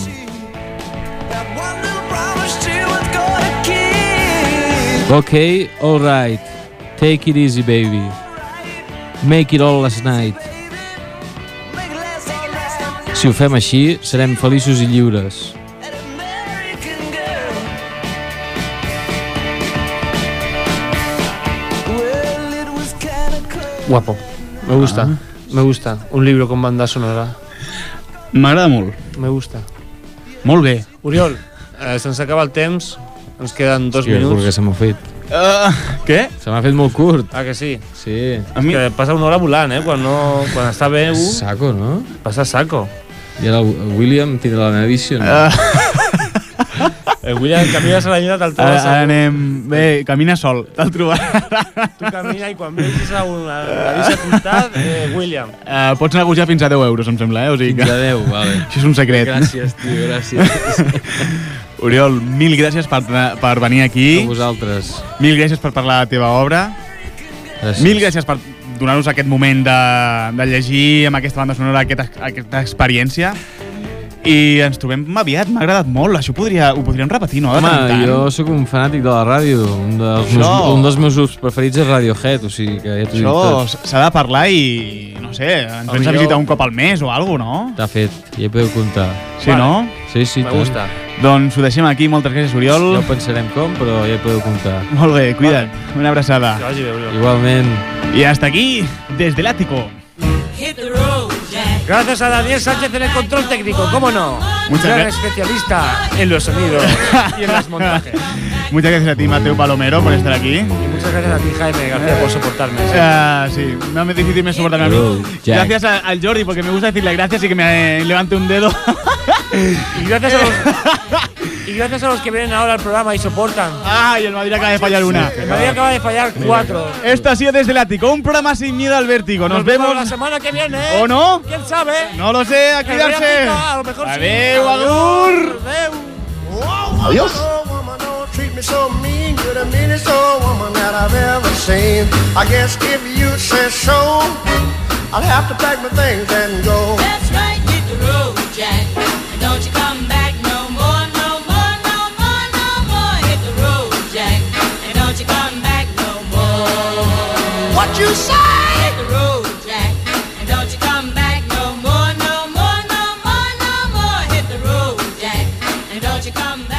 [SPEAKER 6] Ok, all right. Take it easy, baby. Make it all last night. Si ho fem així, serem feliços i lliures.
[SPEAKER 4] Guapo. Me gusta.
[SPEAKER 6] Ah.
[SPEAKER 4] Me gusta. Un libro con banda sonora.
[SPEAKER 1] M'agrada molt.
[SPEAKER 4] Me gusta.
[SPEAKER 1] Molt bé.
[SPEAKER 4] Oriol, eh, se'ns acaba el temps. Ens queden dos
[SPEAKER 6] Hòstia,
[SPEAKER 4] minuts.
[SPEAKER 6] que se m'ha fet.
[SPEAKER 1] Uh, què?
[SPEAKER 6] Se m'ha fet molt curt.
[SPEAKER 4] Ah, que sí?
[SPEAKER 6] Sí.
[SPEAKER 4] A mi... que passa una hora volant, eh? Quan, no, quan està bé... Un...
[SPEAKER 6] Saco, no?
[SPEAKER 4] Passa saco.
[SPEAKER 6] I ara el William tindrà la meva visió, no?
[SPEAKER 4] Ah. El William camina a la lluna, te'l
[SPEAKER 1] Ara,
[SPEAKER 4] trobes...
[SPEAKER 1] ara anem... Bé, camina sol, te'l trobaràs.
[SPEAKER 4] Tu camina i quan vegis a una camisa apuntat, eh, William.
[SPEAKER 1] Uh, pots negociar fins a 10 euros, em sembla, eh? O sigui que...
[SPEAKER 6] Fins a 10, vale.
[SPEAKER 1] Això és un secret.
[SPEAKER 6] Gràcies, tio, gràcies.
[SPEAKER 1] Oriol, mil gràcies per, per venir aquí. A
[SPEAKER 6] vosaltres.
[SPEAKER 1] Mil gràcies per parlar de la teva obra.
[SPEAKER 6] Gràcies.
[SPEAKER 1] Mil gràcies per donar-nos aquest moment de, de llegir amb aquesta banda sonora aquesta, aquesta experiència. I ens trobem aviat, m'ha agradat molt. Això podria, ho podríem repetir, no? De
[SPEAKER 6] Home,
[SPEAKER 1] tant en tant.
[SPEAKER 6] jo sóc un fanàtic de la ràdio. Un dels, meus,
[SPEAKER 1] Això.
[SPEAKER 6] un dels meus grups preferits és Radiohead, o sigui que ja t'ho dic
[SPEAKER 1] Això
[SPEAKER 6] tot.
[SPEAKER 1] s'ha de parlar i, no sé, ens vens a
[SPEAKER 6] millor-
[SPEAKER 1] visitar un cop al mes o alguna cosa, no?
[SPEAKER 6] T'ha fet, ja podeu comptar.
[SPEAKER 1] Sí, Vale. no?
[SPEAKER 6] Sí, sí.
[SPEAKER 1] Me
[SPEAKER 6] tant.
[SPEAKER 1] gusta. Doncs ho deixem aquí, moltes gràcies, Oriol.
[SPEAKER 6] Ja ho pensarem com, però ja podeu comptar.
[SPEAKER 1] Molt bé, cuida't. Una abraçada.
[SPEAKER 6] Igualment.
[SPEAKER 1] I hasta aquí, des de l'Àtico.
[SPEAKER 4] Gracias a Daniel Sánchez en el control técnico, cómo no.
[SPEAKER 1] Muchas
[SPEAKER 4] Gran
[SPEAKER 1] gracias.
[SPEAKER 4] especialista en los sonidos y en los montajes.
[SPEAKER 1] Muchas gracias a ti, Mateo Palomero, por estar aquí.
[SPEAKER 4] Muchas gracias a ti, Jaime García, por soportarme.
[SPEAKER 1] Ah, sí, no me difícil me soportarme a mí.
[SPEAKER 4] Bro, Jack.
[SPEAKER 1] Gracias a- al Jordi, porque me gusta decirle gracias y que me eh, levante un dedo.
[SPEAKER 4] Y gracias a los, y gracias Eh, a los que vienen ahora al programa y soportan.
[SPEAKER 1] Ay, el Madrid acaba de fallar una.
[SPEAKER 4] El Madrid acaba de fallar cuatro.
[SPEAKER 1] Esto ha sido Desde el Ático, un programa sin miedo al vértigo. Nos, vemos.
[SPEAKER 4] la semana que viene. ¿eh?
[SPEAKER 1] ¿O no?
[SPEAKER 4] ¿Quién sabe?
[SPEAKER 1] No lo sé, a
[SPEAKER 4] Me voy a
[SPEAKER 1] cuidarse.
[SPEAKER 4] picar, A lo mejor sí.
[SPEAKER 1] Adeu, agur.
[SPEAKER 4] Adeu.
[SPEAKER 1] Adiós.
[SPEAKER 20] treat me so mean, you're the meanest old woman that I've ever seen. I guess if you say so, I'll have to pack my things and go.
[SPEAKER 19] That's right, hit the road, Jack. And don't you come back no more, no more, no more, no more. Hit the road, Jack. And don't you come back no more.
[SPEAKER 20] What you say?
[SPEAKER 19] Hit the road, Jack. And don't you come back no more, no more, no more, no more. Hit the road, come back.